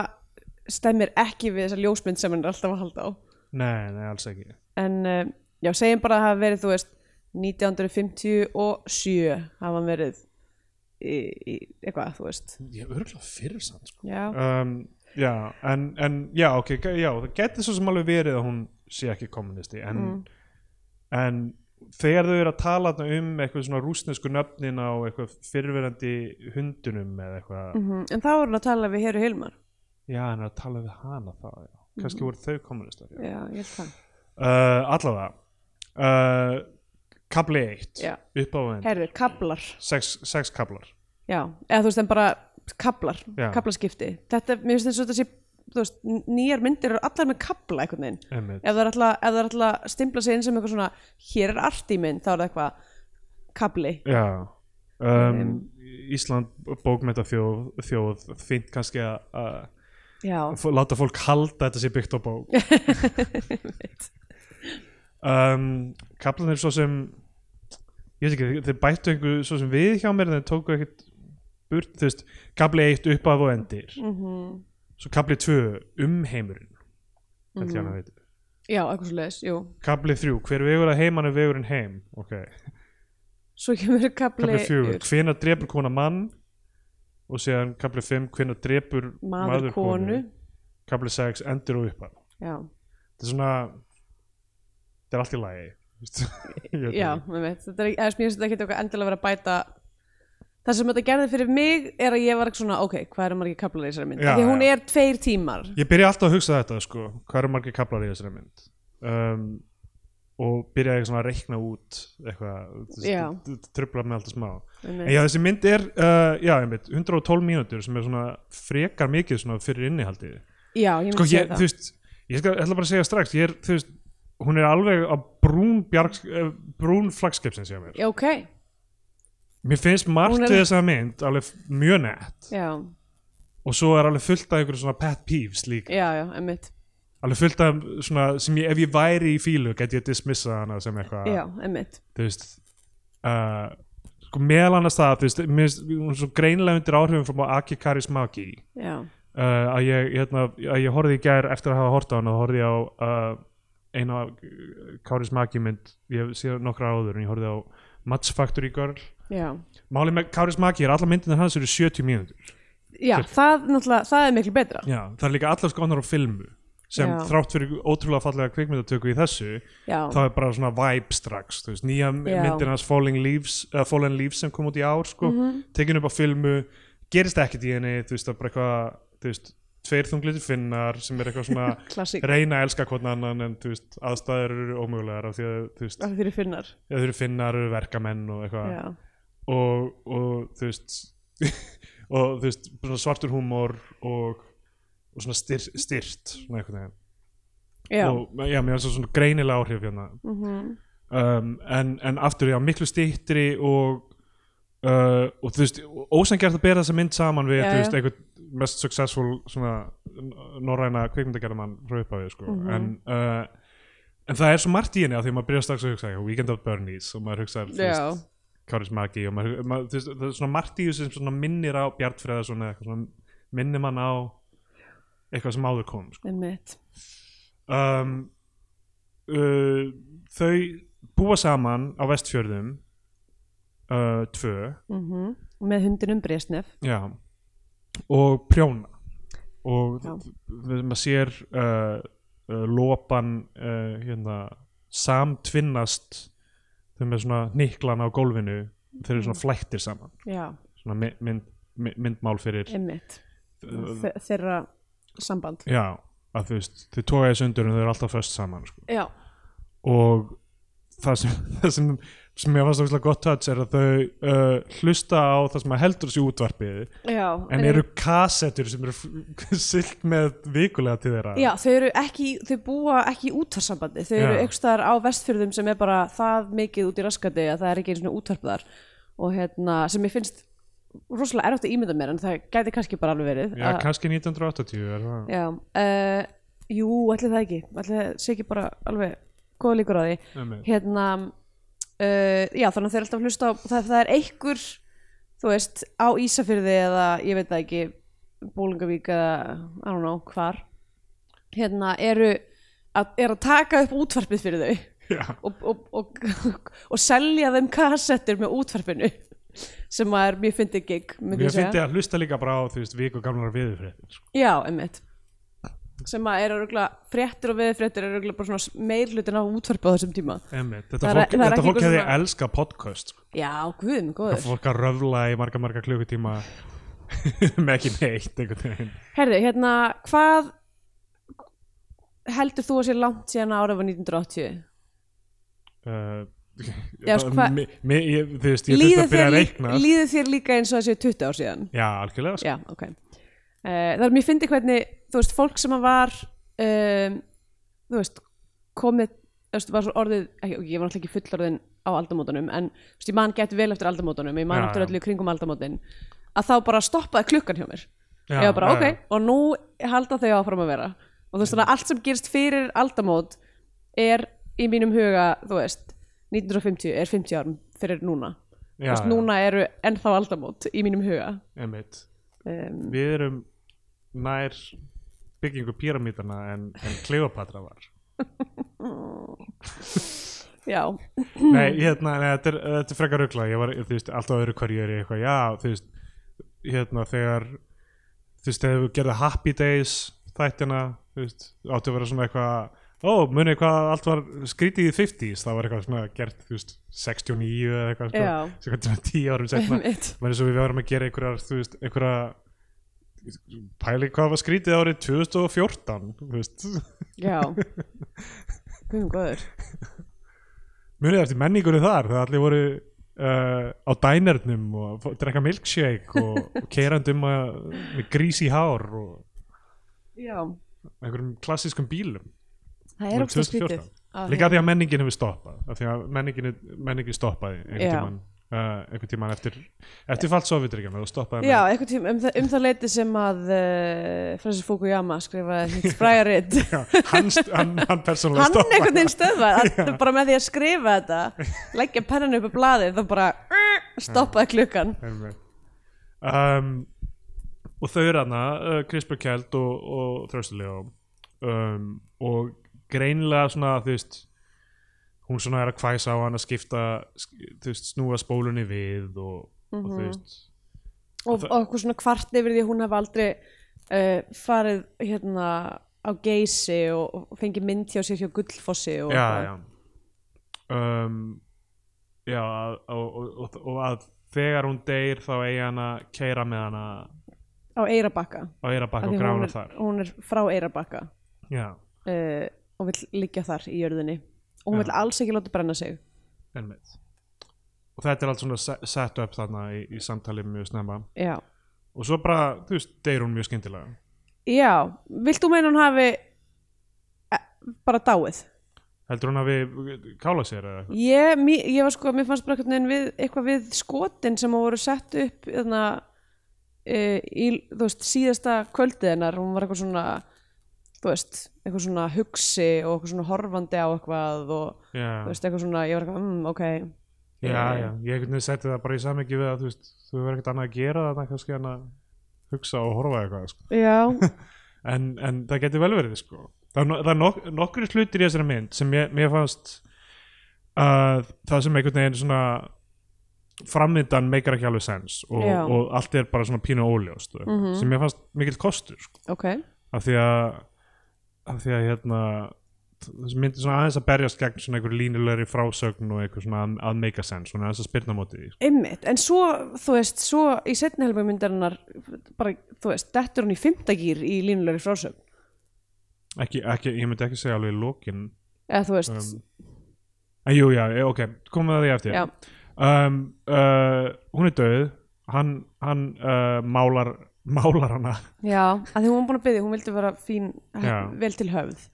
stemmir ekki við þessa ljósmynd sem hann er alltaf að halda á nei, nei, alls ekki en uh, já, segjum bara að hafa verið þú veist 1957 hafa hann verið í, í eitthvað, þú veist ég er örgulega fyrir sann sko. já, um, já, en, en já, ok, g- já, það geti svo sem alveg verið að hún sé ekki kommunisti en, Mm. en þegar þau eru að tala þarna um eitthvað svona rúsnesku nöfnin á eitthvað fyrirverandi hundunum eða eitthvað mm en þá er hann að tala við Heru Hilmar Já, hann er að tala við hana þá já. Kannski voru þau komunistar já. já, ég held það Uh, Allavega uh, Kabli 1 Já. Upp á enn herðu, kablar, sex, sex kablar já, eða þú veist en bara kablar, Já. kablaskipti þetta, mér finnst þess að þetta sé þú veist, n- nýjar myndir eru allar með kabla einhvern veginn Einmitt. ef það er alltaf, ef það er alltaf að stimpla sig inn sem eitthvað svona, hér er allt í minn þá er það eitthvað kabli Já um, Ísland bókmenta þjóð, þjóð fint kannski að- að já, f- láta fólk halda þetta sé byggt á bók um, Kablanir svo sem ég veit ekki, þeir- þeir bættu einhver svo sem við hjá mér en þeir tóku ekkert burt, þú veist, kabli 1 upp af og endir Mhm. svo kabli 2 um heimurinn held ég hann að veit Mhm. já, eitthvað svo leis, jú kabli 3, hver vegur að heiman er vegurinn heim ok, svo kemur kabli, kabli 4, hvenær drepur kona mann og síðan kabli 5 hvenær drepur maður konu kabli 6, endur og upp af já, þetta er svona þetta er allt í lagi þú veist, ég veit já, ekki. með veit þetta er ekki, eða, mér finnst þetta ekki eitthvað endilega verið að bæta það sem þetta gerði fyrir mig er að ég var ekki svona, ok, hvað eru margir kablar í þessari mynd Já, af því að hún já. er tveir tímar ég byrja alltaf að hugsa þetta sko, hvað eru margir kablar í þessari mynd um, og byrja ég svona að reikna út Já. eitthvað tröfla með alltaf smá en einmitt. já, þessi mynd er uh, já, einmitt, 112 mínútur sem er svona frekar mikið svona fyrir innihaldið já, ég myndi sko, segja ég, það þú veist, ég skal, ætla bara að segja strax ég er, þú veist, hún er alveg á brún, bjarg, eh, brún flagskepsins hjá mér já, ok, mér finnst margt Hún er- við þessa mynd alveg f- mjög nett já, og svo er alveg fullt af einhverjum svona pet peeves líka já, já, einmitt alveg fullt af svona sem ég, ef ég væri í fílu get ég dismissa hana sem eitthvað já, einmitt, þú veist uh, sko meðal annars það þú veist, mér finnst hún er svo greinlega undir áhrifum frá Aki Karis Maki já, uh, að ég, hérna, að ég horfði í gær eftir að hafa hort á hana, þá horfði ég á uh, eina Karis Maki mynd ég hef séð nokkra áður en ég horfði á Match Factory Girl já málið með Karis Maki er að allar myndina hans eru 70 mínútur já, það, náttúrulega, það er miklu betra Já, það er líka allar skonar á filmu sem Já. þrátt fyrir ótrúlega fallega kvikmyndatöku í þessu já, það er bara svona vibe strax þú veist, nýja Já. myndin hans Falling Leaves, uh, Fallen Leaves sem kom út í ár sko, Mhm. tekin upp á filmu gerist ekkert í henni, þú veist, það er bara eitthvað þú veist, tveir þunglitir finnar sem er eitthvað svona, klassík reyna að elska hvort annan en þú veist, aðstæður eru ómögulegar af því að þú veist, af því þeir finnar ef þeir eru finnar eru verkamenn og eitthvað já, og, og þú veist og þú veist, svona svartur húmor og, og svona styr, styrt svona einhvern veginn já, og já, mér finnst það svona greinilega áhrif hérna mm um, en, en aftur já, miklu stýttri og uh, og þú veist, ósengjart að bera þessa mynd saman við, Já, þú veist, já. einhvern mest successful svona n- norræna kvikmyndagerðamann frá upphafi, sko Mhm. en, uh, en það er svo margt í henni af því að maður byrjar strax að hugsa, já, Weekend of Bernies og maður hugsa, þú já, veist, Káris Maki og maður, maður, þú veist, það er svona margt í þessu sem svona minnir á Bjartfreða svona, eitthvað svona minnir mann á eitthvað sem áður kom, sko einmitt um, uh, þau búa saman á vestfjörðum uh, tvö mm með hundinum Bresnef já, og prjóna og Já. við- maður sér uh, uh, lopan uh, hérna, samtvinnast þau með svona niklan á gólfinu þau eru svona flættir saman já, svona mynd, mynd, mynd, myndmál fyrir einmitt uh, Þe þeirra samband já, að þú veist þau toga í sundur en þau eru alltaf föst saman sko. já, og það sem, það sem, sem mér fannst ógeðslega gott touch er að þau uh, hlusta á það sem að heldur sér útvarpið já en eru kassettur sem eru f- siglt með vikulega til þeirra Já, þau eru ekki, þau búa ekki í útvarsambandi þau eru Já. einhvers staðar á vestfjörðum sem er bara það mikið út í raskandi að það er ekki einu svona útvarp þar og hérna, sem ég finnst rosalega erfitt að ímynda mér en það gæti kannski bara alveg verið Já, að- kannski 1980 er það Já, uh, jú, allir það ekki allir það sé ekki bara alveg góða líkur á því Einmitt. hérna uh, já, þannig að þeir eru alltaf að hlusta á það, það er einhver, þú veist á Ísafyrði eða ég veit það ekki Bólingavík eða I don't know, hvar hérna eru að, er að taka upp útvarpið fyrir þau Já. og, og, og, og selja þeim kassettur með útvarpinu sem að er mjög fyndið gig myndi Mér segja. finnst ég að hlusta líka bara á þú veist viku gamlar viðurfréttir sko. Já, einmitt sem að eru örgulega fréttir og veðfréttir eru örgulega bara svona meirlutin á útvarpi á þessum tíma Einmitt. Það Þetta fólk, er- það er þetta ekki fólk eitthvað hefði svona- elska podcast sko. Já, guðum, Það góður fólk að röfla í marga marga klukkutíma með ekki neitt einhvern veginn Herði, hérna, hvað heldur þú að sé langt síðan árið var 1980? uh, Já, já, sko, sko, hvað- mi, mi, ég, þú veist, ég þurfti Líður að byrja að lí- reikna líður þér líka eins og það sé 20 ár síðan? já, algjörlega sko. Já, ok. Uh, það er mér fyndi hvernig, þú veist, fólk sem að var, um, þú veist, komið, þú veist, var svo orðið, ekki, ég var náttúrulega ekki fullorðin á aldamótunum, en þú veist, ég man gett vel eftir aldamótunum, ég man Já, eftir já. öllu í kringum aldamótin, að þá bara stoppaði klukkan hjá mér. Já, ég var bara, já, ok, og nú halda þau áfram að vera. Og þú veist, þannig að allt sem gerist fyrir aldamót er í mínum huga, þú veist, 1950 er 50 árum fyrir núna. já, þú veist, núna eru ennþá aldamót í mínum huga. einmitt. Um, við erum nær byggingu píramítana en, en Kleopatra var já, Hmm. nei, hérna, nei, þetta er, þetta er frekar rugla ég var, þú veist, alltaf öðru hverju er ég eitthvað já, þú veist, hérna, þegar þú veist, þegar við gerðum Happy Days þættina, þú veist, áttu að vera svona eitthvað ó, munið hvað allt var skrítið í 50s, það var eitthvað svona gert, þú veist, 69 eða eitthvað, sko, Já. sem hvað svona 10 árum setna Einmitt. var eins og við varum að gera einhverjar þú veist, einhverja pæli hvað var skrítið árið 2014 þú veist, Já Guðum góður munið eftir menningunni þar það allir voru uh, á dænernum og fó- drekka milkshake og, og keirandum að, með grís í hár og Já, einhverjum klassískum bílum það Voru er ógst 2014. að skrítið að líka af því að menningin hefur stoppað af því að menningin, menningin stoppaði einhvern Já. tíman, uh, einhvern tíman eftir, eftir fall sovjetryggjum og stoppaði Já, einhvern tíma um, það- um það leiti sem að uh, Francis Fukuyama skrifaði hitt fræjaritt menning- hann, st- hann, hann persónulega Hann stoppaði einhvern veginn stöðvað að, bara með því að skrifa þetta leggja pennan upp á blaðið þá bara uh, stoppaði klukkan Einmitt. um, og þau eru hana uh, Crispr Kjeld og, og Þröstulega um, og greinilega svona þú veist hún svona er að hvæsa á hann að skipta sk- þú veist, snúa spólunni við og, og Mhm. þú veist og, og okkur svona kvart yfir því að hún hafi aldrei uh, farið hérna á geysi og, og fengið mynd hjá sér hjá gullfossi og já, já um, já að- og, og, og, og að þegar hún deyr þá eigi hann að keira með hana á Eirabakka á Eirabakk Af því og hún grána er, þar hún er frá Eirabakka já, uh, og vill liggja þar í jörðinni og hún Já. vill alls ekki láta brenna sig ennmið og þetta er allt svona se- set up þarna í, í samtali mjög snemma já, og svo bara, þú veist, deyr hún mjög skyndilega já vilt þú meina hún hafi eh, bara dáið heldur hún að við kála sér eða eitthvað ég, mí- ég var sko, mér fannst bara eitthvað neginn við, eitthvað við skotin sem hún voru sett upp þarna e, í, þú veist, síðasta kvöldið hennar hún var eitthvað svona þú veist, eitthvað svona hugsi og eitthvað svona horfandi á eitthvað og þú já, veist, eitthvað svona, ég var eitthvað, mm, ok já, já, ég einhvern veginn seti það bara í samengi við að þú veist, þú verður ekkert annað að gera þarna kannski en að hugsa og horfa eitthvað sko. já, en, en það geti vel verið sko. það er, no, það er nok nokkri slutir í þessari mynd sem ég, mér fannst að það sem einhvern veginn svona framvindan meikar ekki alveg sens og, Já. og allt er bara svona pínu óljóst mm Mhm. sem mér fannst mikill kostur sko. ok af því að af því að hérna þessi myndi svona aðeins að berjast gegn svona einhver línulegri frásögn og einhver svona að, að meika sens svona aðeins að spyrna á móti því sko. Einmitt, en svo, þú veist, svo í setni helmi myndarinnar, bara, þú veist, dettur hún í fimmtagýr í línulegri frásögn, ekki, ekki, ég myndi ekki segja alveg í lokin eða þú veist, um, en jú, já, eh, ok, komum við að því eftir já, um, uh, hún er döð hann, hann uh, málar málar hana já, að því hún var búin að byggja, hún vildi vera fín, Já. vel til höfð,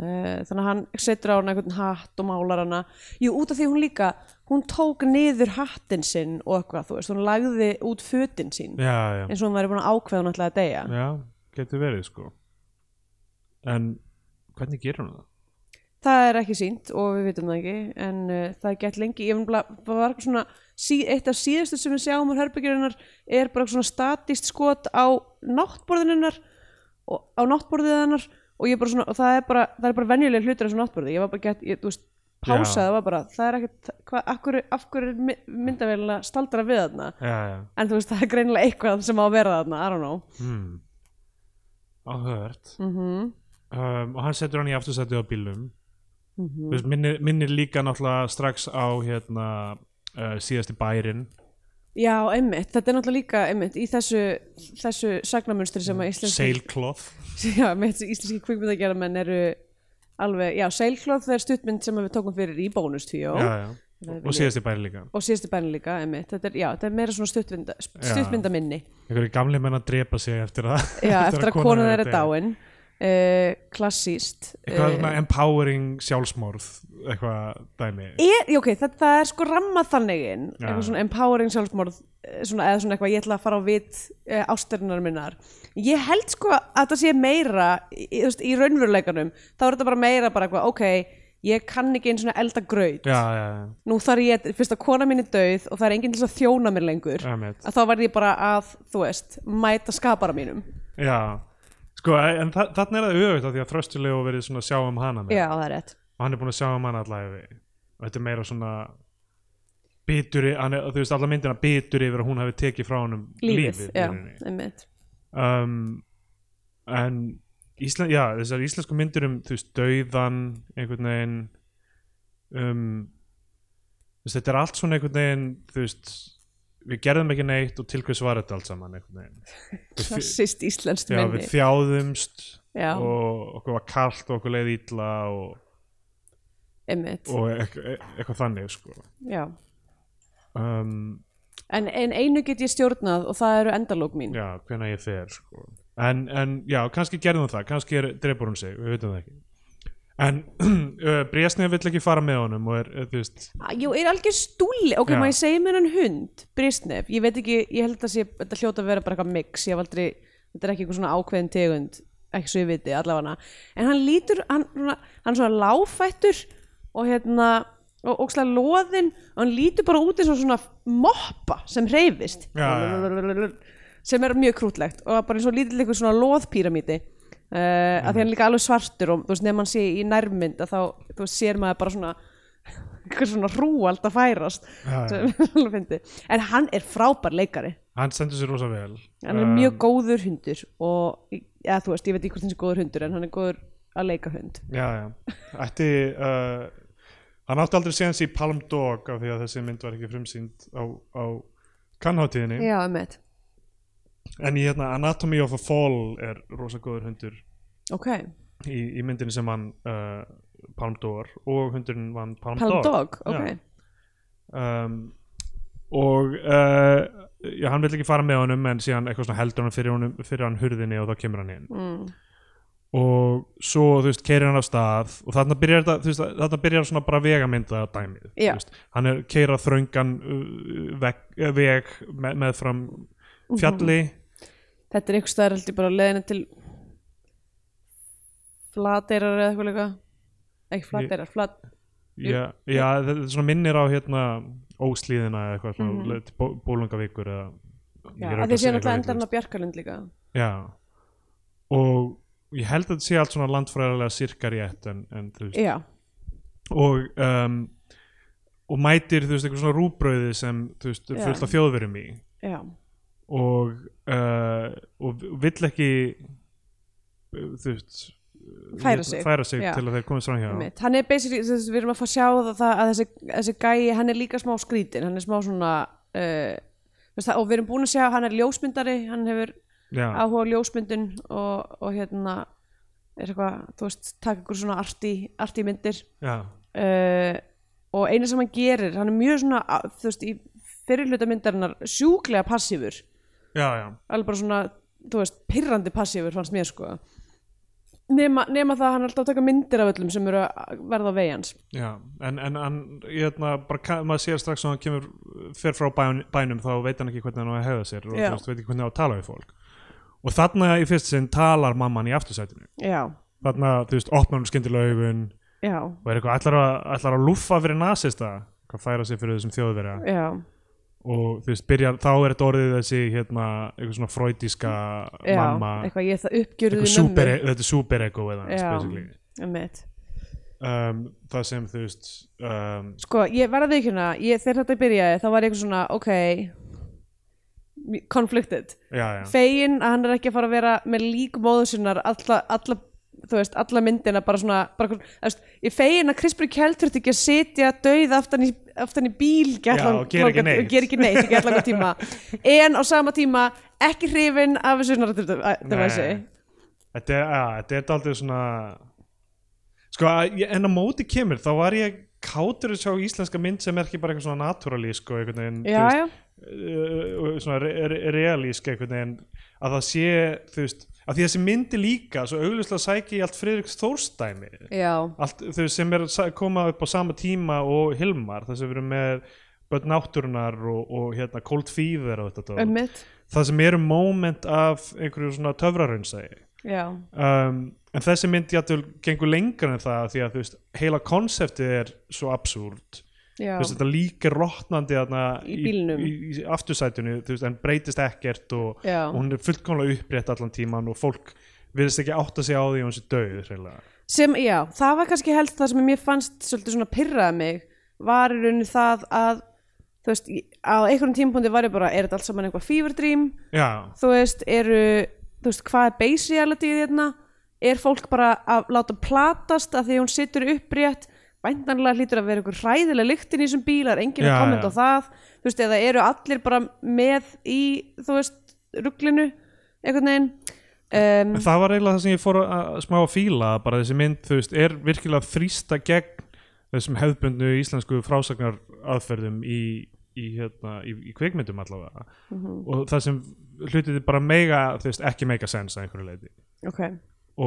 Eh, þannig að hann setur á hann einhvern hatt og málar hana, jú, út af því hún líka, hún tók niður hattinn sinn og eitthvað, þú veist, hún lagði út fötin sín, já, já, eins og hún væri búin að ákveða hún ætlaði að deyja, já, getur verið sko en hvernig gerir hún það? Það er ekki sínt og við vitum það ekki en uh, það er gett lengi ég var bara eitthvað svona sí, eitt af síðustu sem við sjáum úr herbyggjurinar er bara svona statíst skot á náttborðinunnar og á náttborðið hennar og, ég bara svona, og það er bara, það er bara venjuleg hlutur af þessu náttborði ég var bara gett, ég, þú veist, Já. pásaði var bara það er ekkert, hva, af hverju, af hverju er my- myndavélina staldra við þarna já, já en þú veist, það er greinilega eitthvað sem á að vera þarna I don't know Hmm. Áhört. mm -hmm. Um, og hann setur hann í aftursætið á bílum. Mhm. Mm. Veist, minnir, minnir líka náttúrulega strax á hérna, uh, síðasti bærin. Já, einmitt, þetta er náttúrulega líka einmitt í þessu, þessu sagnamunstri sem að íslenski Sailcloth. Já, með þessi íslenski kvikmyndagerðamenn eru alveg, já, Seilklóð er stuttmynd sem við tókum fyrir í bónustvíó Já, já. Það er Og síðasti bærin líka. og síðustu bæni líka, emitt, þetta er, já, þetta er meira svona stuttmynda, Já. stuttmyndaminni Einhverju gamli menn að drepa sig eftir það. já, eftir að konan þeirra er deyr. dáin eh, uh, klassíst Eitthvað svona empowering sjálfsmorð, eitthvað dæmi. Er, já, ok, það, það er sko rammað þannig inn Já. eitthvað svona empowering sjálfsmorð eh, svona, eða svona eitthvað ég ætla að fara á vit e, ástæðunar minnar ég held sko að það sé meira í, í- þú veist, í raunveruleikanum þá er þetta bara meira bara eitthvað, ok ég kann ekki einn svona elda graut Já, já, já. nú þarf ég, fyrst að kona mín er dauð og það er enginn til þess að þjóna mér lengur Einmitt. að þá verð ég bara að, þú veist mæta skapara mínum Já. Sko, en þa þarna er það auðvitað því að þröstulegu verið svona að sjá um hana með. já, það er rétt og hann er búin að sjá um hann allavega og þetta er meira svona bitur, í- hann er, þú veist alla myndina bitur yfir að hún hafi tekið frá hann um lífið, lífið í já, rauninni. einmitt um, en Ísland, já, þessar íslensku myndir um þú veist, dauðan einhvern veginn um þú veist, þetta er allt svona einhvern veginn þú veist, við gerðum ekki neitt og til hvers var þetta allt saman einhvern veginn Við þj- klassist íslenskt já, minni við þjáðumst já, og okkur var kalt og okkur leið illa og, einmitt, og eitthvað, eitthvað þannig sko já um, En, en einu get ég stjórnað og það eru endalók mín. já, hvenær ég fer sko. en, en já, kannski gerðum það kannski er, drepur hún sig, við veitum það ekki en Brésnið vill ekki fara með honum og er, eh, þú veist Á, Jú, er algjör stúli. Ok, Já. maður ég segi mér hann hund, Bristnef. Ég veit ekki, ég held að sé, þetta hljóta að vera bara eitthvað mix. Ég hef aldrei, þetta er ekki eitthvað svona ákveðin tegund, ekki svo ég viti, allavega En hann lítur, hann, svona, hann er svona láfættur og hérna, og ókslega loðinn og hann lítur bara út eins og svona moppa sem hreyfist. Já, já. sem er mjög krútlegt og bara eins og lítill eitthvað svona loðpíramíti uh, að því hann er líka alveg svartur og þú veist, nefn hann sé í nærmynd að þá, þú veist, sér maður bara svona eitthvað svona hrúald að færast Já, já. sem er alveg fyndi en hann er frábær leikari hann stendur sér rosa vel hann er mjög góður hundur og, eða þú veist, ég veit ekki hvort hann sé góður hundur en hann er góður að leika hund já, já, ætti uh, hann átti aldrei séðan sér í Palm Dog af því að þessi mynd var ekki frumsýnd á, á kannháttíðinni Já, emmitt en í hérna Anatomy of a Fall er rosa góður hundur Ok, í, í myndinni sem hann uh, Palm Dog og hundurinn vann Palm, Palm Dog, Já. ok um, og uh, já, hann vil ekki fara með honum en síðan eitthvað svona heldur hann fyrir, honum, fyrir hann hurðinni og þá kemur hann inn mm. og svo þú veist keirir hann af stað og þarna byrjar þetta þú veist, þarna byrjar svona bara vegamynda dæmið þú Já. veist. hann er keira þröngan uh, veg, uh, veg með, með fram Mhm. fjalli Þetta er einhvers staðar heldur bara á leiðinu til flateirar eða eitthvað líka ekki flateirar, flat já, já, þetta er svona minnir á hérna óslíðina eða eitthvað svona mm Mhm. -hmm. bólungavíkur eða já, Ég er að ekki að því sé segja náttúrulega eitthvað endar hann vitlaust. á Bjarkarlund líka já og ég held að þetta sé allt svona landfræðilega sirkar rétt en, en þú veist Já, og um, og mætir þú veist einhver svona rúbröði sem þú veist er Já. fullt af þjóðverum í já, og uh, og vill ekki uh, þú veist Færa vill- sig. færa sig Já. til að þeir komist fram hjá mitt Hann er basically, þess, við erum að fá að sjá það, það að þessi, þessi gæi, hann er líka smá skrítin hann er smá svona uh, veist, það, og við erum búin að sjá, hann er ljósmyndari hann hefur já, áhuga á ljósmyndun og, og hérna er eitthvað, þú veist, taka ykkur svona arti, arti myndir já, uh, og eina sem hann gerir hann er mjög svona, á- þú veist, í fyrirluta myndarinnar sjúklega passífur já, já, alveg bara svona, þú veist, pirrandi passífur fannst mér sko nema, nema það að hann er alltaf að taka myndir af öllum sem eru að verða á vegi hans já en, en hann, ég hérna, bara ka- maður sér strax að hann kemur, fer frá bæn, bænum þá veit hann ekki hvernig hann á að hefða sér og Já. þú veist, veit ekki hvernig hann á að tala við fólk og þarna í fyrst sinn talar mamman í aftursætinu já, þarna, þú veist, opnar hún skyndilega augun já, og er eitthvað ætlar að, ætlar að lúffa fyrir nasista hvað færa sig fyrir þessum þjóðverja já og þú veist, byrja, þá er þetta orðið þessi hérna, eitthvað svona freudiska já, mamma, eitthvað ég það uppgjörðu eitthvað super, þetta er superego eða hans, Já. basically einmitt. um, það sem þú veist um, sko, ég verða því hérna ég, þegar þetta byrjaði, þá var ég eitthvað svona ok, conflicted já, já, fegin að hann er ekki að fara að vera með lík móður sinnar alla, alla, þú veist, alla myndina bara svona, bara, þú veist, ég er fegin að Krispur Kjell þurfti ekki að sitja dauð aftan í, aftan í bíl ekki Já, allan- og gera ekki langan- neitt. og gera ekki neitt, ekki allan á tíma en á sama tíma ekki hrifin af þessu narratífdævæsi Nei. þetta er, að, þetta er daldið svona sko, að ég- en á móti kemur þá var ég kátur að sjá íslenska mynd sem er ekki bara eitthvað svona naturalísk og einhvern veginn, þú já, veist, já, uh, svona re re realísk einhvern veginn að það sé þú veist, að því þessi myndi líka svo augljóslega sæki í allt Friðriks Þórstæmi já, allt, þau sem er að sa- koma upp á sama tíma og Hilmar, þess að við erum með börn náttúrunar og, og hérna Cold Fever og þetta dót. ömmit það sem eru moment af einhverju svona töfraraunsægi já, um, en þessi mynd jættul gengur lengra en það því að þú veist, heila konseptið er svo absúrt já, þú veist, þetta líka rótnandi þarna Í bílnum. í, í, í aftursætinu, þú veist, en breytist ekkert og, já. og hún er fullkomlega upprétt allan tíman og fólk virðist ekki átta sig á því að hún sé döið hreinlega. sem, já, það var kannski helst það sem mér fannst svolítið svona pyrraði mig var í rauninu það að þú veist, í- á einhverjum tímpúndi var ég bara er þetta allt saman eitthvað fever dream já, þú veist, eru, þú veist, hvað er base reality þérna, er fólk bara að láta platast að því hún situr upprétt, væntanlega hlýtur að vera einhver hræðileg lyktin í þessum bíl það er enginn Já, að já. kommenta á það þú veist, eða eru allir bara með í, þú veist, rugglinu einhvern veginn um, en það var eiginlega það sem ég fór að- að smá að fíla bara þessi mynd, þú veist, er virkilega að þrýsta gegn þessum hefðbundu íslensku frásagnar aðferðum í, í, hérna, í, í kvikmyndum allavega og það sem hlutið bara mega, þú veist, ekki mega sens að einhverju leiti ok,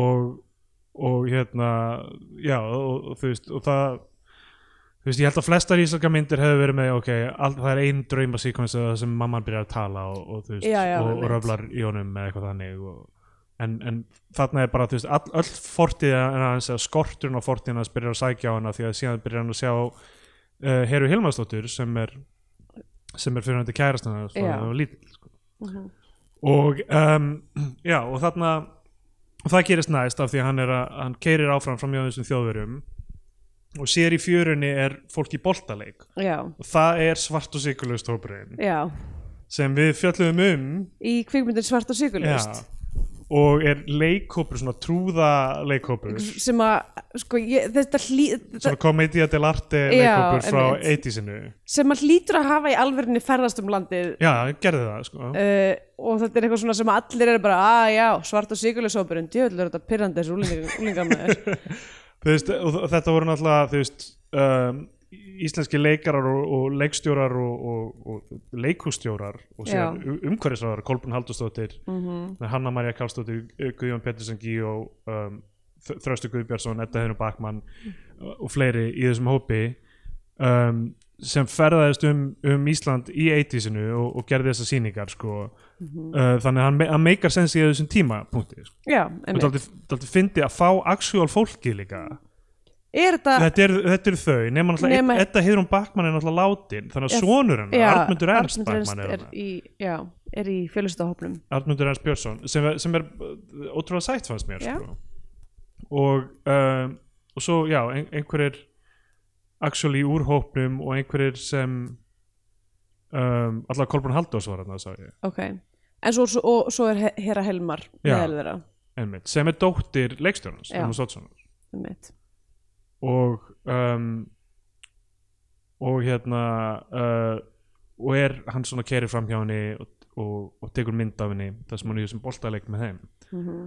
og og hérna já og, og þú veist og það þú veist ég held að flestar íslenska myndir hefur verið með ok, all, það er ein drauma sequence það sem mamman byrjar að tala og, og þú veist Já, já, og, og einmitt. röflar í honum eða eitthvað þannig og, en, en þarna er bara þú veist all, öll fortíða hans eða skorturinn á fortíðina hans byrjar að sækja á hana því að síðan byrjar hann að sjá uh, Heru Hilmarsdóttur sem er sem er fyrirhandi kærastan hans frá því Já. að hún var lítil sko Mhm. og um, já og þarna og það gerist næst af því að hann, er að, hann keirir áfram fram hjá þessum þjóðverjum og sér í fjörunni er fólk í boltaleik já, og það er svart og sykulust hópurinn já sem við fjöllum um í kvikmyndin svart og sigurlust og er leikhópur svona trúða leikhópur sem að sko, ég, þetta hlý, þetta, svona komedia del arte Já, leikhópur frá einmitt. 80-sinu sem að hlýtur að hafa í alverðinni ferðast um landið já, gerði það sko uh, og þetta er eitthvað svona sem allir eru bara að já, svart og sigurlusópurinn djöðlur þetta pirrandi þessu úlingar með þér Þú veist, og þ- þetta voru náttúrulega þú veist, um, íslenski leikarar og, og leikstjórar og, og, og leikustjórar og síðan Já. Mhm. umhverfisraðar Kolbrun Haldursdóttir, Hanna María Karlsdóttir Guðjón Pettersson Gíó um, Þ- Þröstur Guðbjörnsson, Edda Heinu Bakmann og fleiri í þessum hópi um, sem ferðaðist um, um Ísland í 80-sinu og, og gerði þessar sýningar sko. Mhm. uh, þannig að hann, me- hann meikar sens í þessum tímapunkti sko. já, og einmitt. þetta fyndi að fá actual fólki líka er þetta þetta eru þetta eru þau, nema náttúrulega Nema- Edda Heiðrún Bakmann er náttúrulega látin þannig Já, að sonur hennar, já, Arnmundur Ernst Arnmundur Ernst Bakmann er er þarna. í, já, er í fjölustahopnum Arnmundur Ernst Björnsson sem, er- sem er uh, ótrúlega sætt fannst mér Já. sko. og um, og svo já, ein, einhverjir actually úr hópnum og einhverjir sem um, allavega Kolbrun Haldós var hann að sagði ok, en svo, svo, og, svo er He- Hera Helmar Já. meðal þeirra einmitt, sem er dóttir leikstjórnans Já. Emma Sottsonar einmitt. og um, og hérna uh, og er hann svona keri fram hjá henni og, og, og tekur mynd af henni þar sem hann er í þessum boltaleik með þeim Mhm.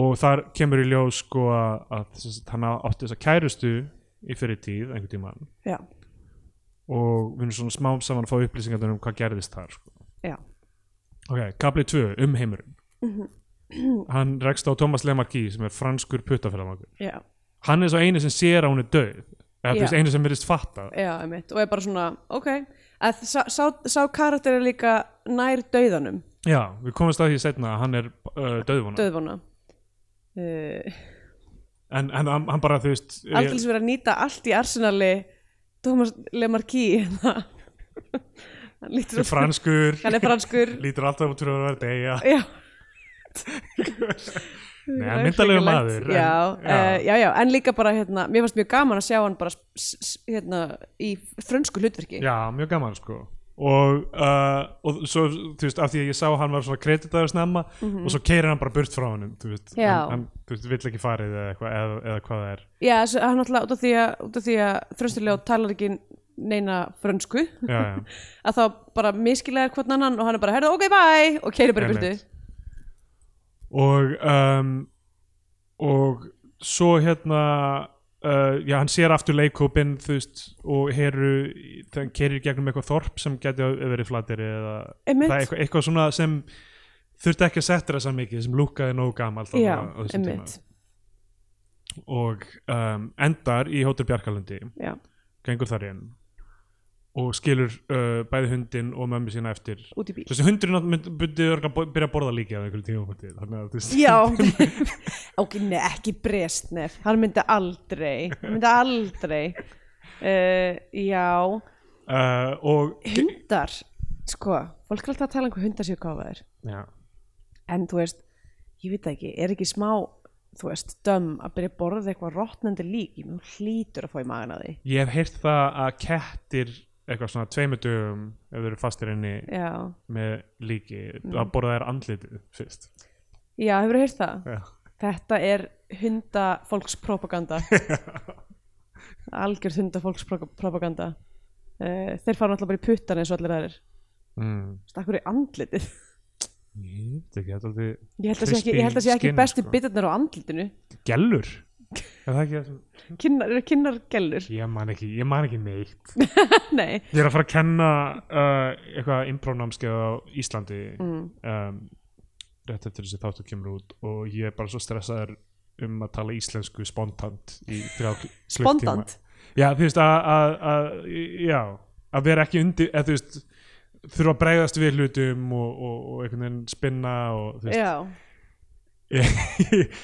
og þar kemur í ljós sko að, að sem sagt, hann átti þessa kærustu í fyrir tíð einhvern tímann já, og við erum svona smám saman að fá upplýsingar um hvað gerðist þar sko. já, Mhm. ok, kapli 2 um heimurinn hann rekst á Thomas Lemarki sem er franskur puttaferðamangur já, hann er svo eini sem sér að hún er döð eða þú Já. veist, einu sem verðist fatta já einmitt. og er bara svona, ok að sá, sá, sá karakter er líka nær dauðanum, Já, við komumst að því setna að hann er uh, döðvona dauðvona uh, en, en hann hann bara, þú veist ég, aldrei verið að nýta allt í arsenali Thomas Lemarki hann lítur er franskur, hann er franskur lítur alltaf út fyrir að vera deyja já Nei, Það hann er myndalegur hrikalegt. maður já, en, já. já, já, en líka bara hérna, mér fannst mjög gaman að sjá hann bara s- s- hérna, í frönsku hlutverki já, mjög gaman sko og, uh, og svo, þú veist, af því að ég sá að hann var svona kreditaður snemma og svo keirir hann bara burt frá honum, þú veist Mhm. Já. hann, hann, þú veist, vill ekki farið eða, eitthvað, eða, eða hvað það er já þessu- hann alltaf út af því að, út af því að frönskulega talar ekki neina frönsku Já, já, að þá bara miskilega hvern annan og hann er bara, herðu, ok, bye og keirir bara í burtu Einmitt. og um, og svo hérna uh, já, hann sér aftur leikhópin þú veist, og heru hann kerir gegnum eitthvað þorp sem geti verið flateri eða Einmitt. það er eitthvað, eitthvað svona sem þurfti ekki að setja þessa mikið sem lúkaði nógu gamalt þarna já, á þessum tíma. emmitt og um, endar í Hótel Bjarkalundi já, gengur þar inn og skilur uh, bæði hundin og mömmu sína eftir út í bíl þessi hundurinn myndi örugglega bo- byrja að borða líka á einhverjum tímapunkti þannig að þú veist Já, ok, nei, ekki Brestnef, hann myndi aldrei, hann myndi aldrei, uh, já, uh, og hundar, sko, fólk er alltaf að tala um hvað hundar séu gáfaðir, já en þú veist, ég veit það ekki, er ekki smá, þú veist, döm að byrja að borða eitthvað rottnandi lík, ég mjög hlýtur að fá í magan að því, Ég hef heyrt það að kettir eitthvað svona tveimur dögum ef þau eru fastir inni já, með líki að borða þær andlitið fyrst já, hefur þú heyrt það? Já. Þetta er hundafólkspropaganda, algjörð hundafólkspropaganda, uh, þeir fara náttúrulega bara í puttan eins og allir aðrir, mm. þú veist, akkur í andlitið. Ég veit ekki, þetta er aldrei Ég held að sé ekki, Crispy ég held að sé ekki skin, bestu sko. bitarnar á andlitinu gellur Er það ekki það sem- Kinnar, eru kinnar gellur? Ég man ekki, ég man ekki neitt Nei, Ég er að fara að kenna uh, eitthvað imprónámskeið á Íslandi um, rétt eftir þessi þáttu kemur út og ég er bara svo stressaður um að tala íslensku spontant í þrjá kl- klukkutíma. bondant Já, þú veist, að- að- að já, að vera ekki undir eða þú veist, þurfa að bregðast við hlutum og, og, og einhvern veginn spinna og þú veist, Já, ég,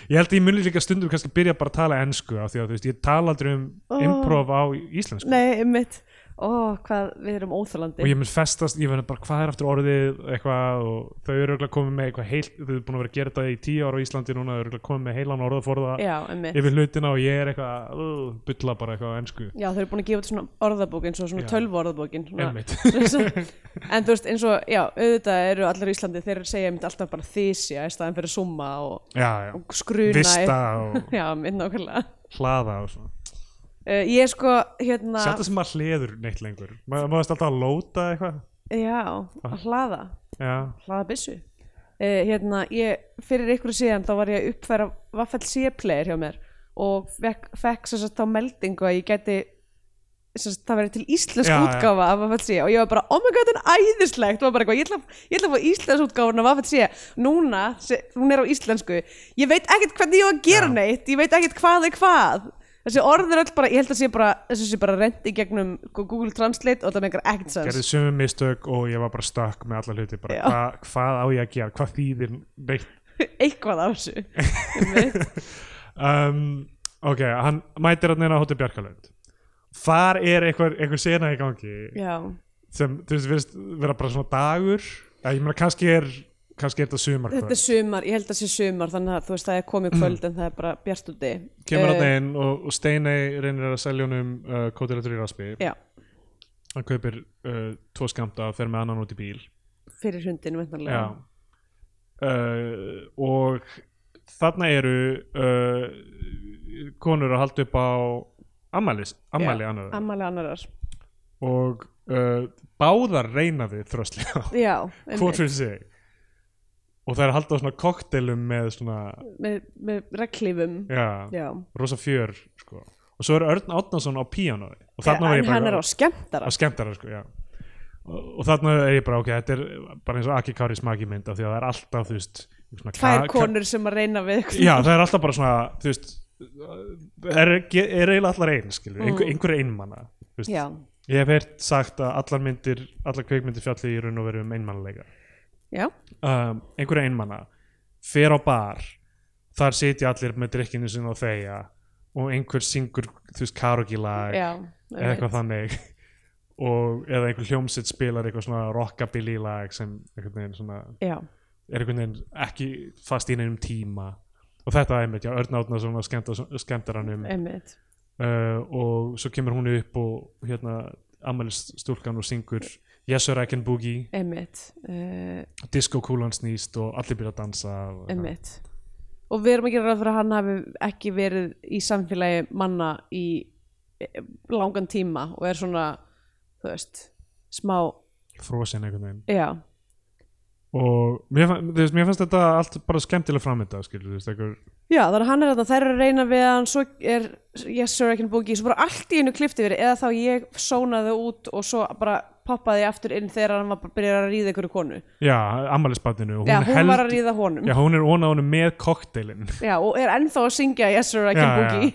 ég held að ég muni líka stundum kannski byrja bara að tala ensku á því að þú veist, ég tala aldrei um Ó. improv á íslensku nei, mitt Ó, hvað við erum óþalandi og ég mun festast, ég verður bara hvað er aftur orðið eitthvað og þau eru örugglega komið með eitthvað heilt, þau eru búin að vera að gera þetta í tíu ára á Íslandi núna, þau eru örugglega komið með heilan orðaforða Já, einmitt yfir hlutina og ég er eitthvað uh, bulla bara eitthvað á ensku Já, þau eru búin að gefa út svona orðabók eins og svona Já. tölvu orðabókin svona. Einmitt. En þú veist, eins og, já, auðvitað eru allir í Íslandi þeir segja einmitt alltaf bara þysja í staðan fyrir summa og, já, já, og skruna vista og Já, mitt nákvæmlega hlaða og svona uh, Ég er sko, hérna Sjaldan sem maður hleður neitt lengur Ma- Maður veist alltaf að lóta eitthvað Já, að hlaða Já, hlaða byssu uh, hérna, ég, fyrir ykkur síðan þá var ég að uppfæra Vaffel C-player hjá mér og fekk, fekk sem sagt þá meldingu að ég geti sem sagt, það væri til íslensk Já, já. útgáfa af Avatsé og ég var bara, oh my god, þetta er æðislegt og bara eitthvað, ég ætla, ég ætla að fá íslensk útgáfun af Avatsé, núna, se- hún er á íslensku ég veit ekkert hvernig ég var að gera Já. neitt ég veit ekkert hvað er hvað þessi orð er öll bara, ég held að sé bara þessu sé bara rent í gegnum Google Translate og það megar ekkert gerði sens sömu mistök og ég var bara stakk með alla hluti bara Já. hva, hvað á ég að gera, hvað þýðir neitt eitthvað af þessu um, ok, hann mætir hann inn á Hóttir Bjarkalund þar er einhver, einhver sena í gangi já, sem þú veist, verðist vera bara svona dagur ja, ég meina kannski er kannski er þetta sumar þetta er sumar, ég held að sé sumar þannig að þú veist það er komið kvöld en það er bara bjart úti Mm. kemur hann Eh, inn og, og Steinei reynir að selja honum uh, kótirættur í raspi já, hann kaupir uh, tvo skamta og fer með annan út í bíl fyrir hundin Já. væntanlega. Uh, og þarna eru uh, konur að halda upp á ammælis, ammæli Já, annar ammali annarar og uh, báðar reyna við þröslega já, einmitt. hvort fyrir sig og það er að halda á svona koktelum með svona, með, með reglífum já, já. rosa fjör sko. og svo er Örn Átnason á píanói og þarna var en ég hann er bara á skemmtara á skemmtara sko, já og, og þarna er ég bara, ok, þetta er bara eins og Aki Kari smaki mynd af því að það er alltaf þú veist, svona tvær ka- ka- konur sem að reyna við eitthvað. já, það er alltaf bara svona þú veist, er, er eiginlega allar einn skilur, einhver, einhver er einmana þú veist. Mm. já, ég hef heyrt sagt að allar myndir allar kveikmyndir fjalli í raun og veru um einmannleika já, um, einhverja einmana fer á bar þar sitja allir með drikkinu sinna og þeia og einhver syngur þú veist karaoke lag já eða einmitt. eitthvað þannig og eða einhver hljómsett spilar eitthvað svona rockabilly lag sem einhvern veginn svona já, er einhvern veginn ekki fast í neinum tíma og þetta er einmitt, já, Örn Átnason að skemmta- skemmtaranum uh, einmitt og svo kemur hún upp og hérna ammælistúlkan og syngur Yes sir I can boogie, einmitt, uh, disco kúlan snýst og allir byrja að dansa og, einmitt. og við erum að gera ráð fyrir að hann hafi ekki verið í samfélagi manna í eh, langan tíma og er svona þú veist, smá frosin einhvern veginn já, og mér, fann- þú veist, mér fannst þetta allt bara skemmtilega framönda skilur, þú veist, einhver, Já, þannig að hann er þarna, þær eru að reyna við hann, svo er Yes Sir I Can Boogie, svo bara allt í einu klifti verið, eða þá ég sónaði út og svo bara poppaði ég aftur inn þegar hann var bara byrjar að ríða einhverju konu. já, ammælisbarninu Já, hún var að ríða honum. já, Já. hún er ón á honum með kokteilin og er ennþá að syngja Yes Sir I Can Já, já. Boogie.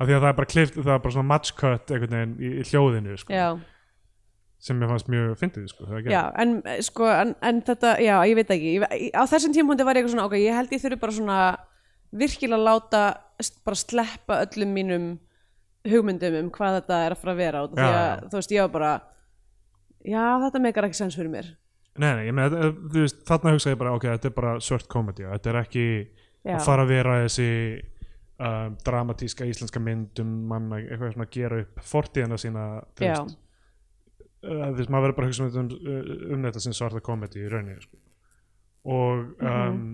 af því að það er bara klift, það er bara svona match cut einhvern veginn í, í hljóðinu sko, Já, sem mér fannst mjög fyndið sko, þegar það já, en eh, sko, en, en þetta, já, ég veit ekki, ég, ve- á þessum tímpundi var ég eitthvað svona, ok, ég held ég þurfi bara svona virkilega láta, st- bara sleppa öllum mínum hugmyndum um hvað þetta er að fara að vera út af því Já, að, já. þú veist, ég var bara, já, þetta megar ekki sens fyrir mér. Nei, nei, ég með, þú veist, þarna hugsaði ég bara, ok, þetta er bara svört komedi, þetta er ekki Já. að fara að vera þessi um, dramatíska íslenska mynd um mann að eitthvað svona gera upp fortíðina sína, þú Já, veist, uh, þú veist, maður verður bara að hugsa um, þetta um, um þetta sem svarta komedi í rauninni, sko. Og, Mhm. um,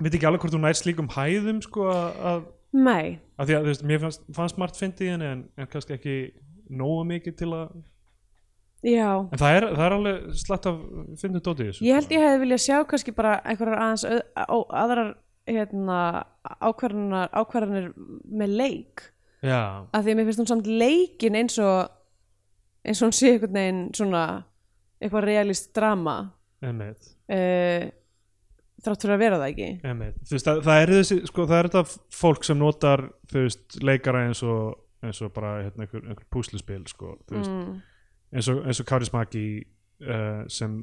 veit ekki alveg hvort hún næst slíkum hæðum, sko, að, að, nei, að því að, þú veist, mér fannst, fannst margt fyndið í henni, en, en kannski ekki nógu mikið til að, já en það er, það er alveg slatt af fyndið dótið í þessu. Ég held ég hefði viljað sjá kannski bara einhverjar aðeins öð, á, aðrar hérna, ákvarðanar, ákvarðanir með leik Já, af því að mér finnst hún samt leikin eins og eins og hún sé einhvern veginn svona eitthvað realist drama einmitt. uh, þrátt fyrir að vera það ekki Einmitt. Þú veist, það, það er þessi, sko, það er þetta fólk sem notar, þú veist, leikara eins og, eins og bara, hérna, einhver, einhver púsluspil, sko, þú veist, mm, eins og, eins og Kári Smaki uh, sem,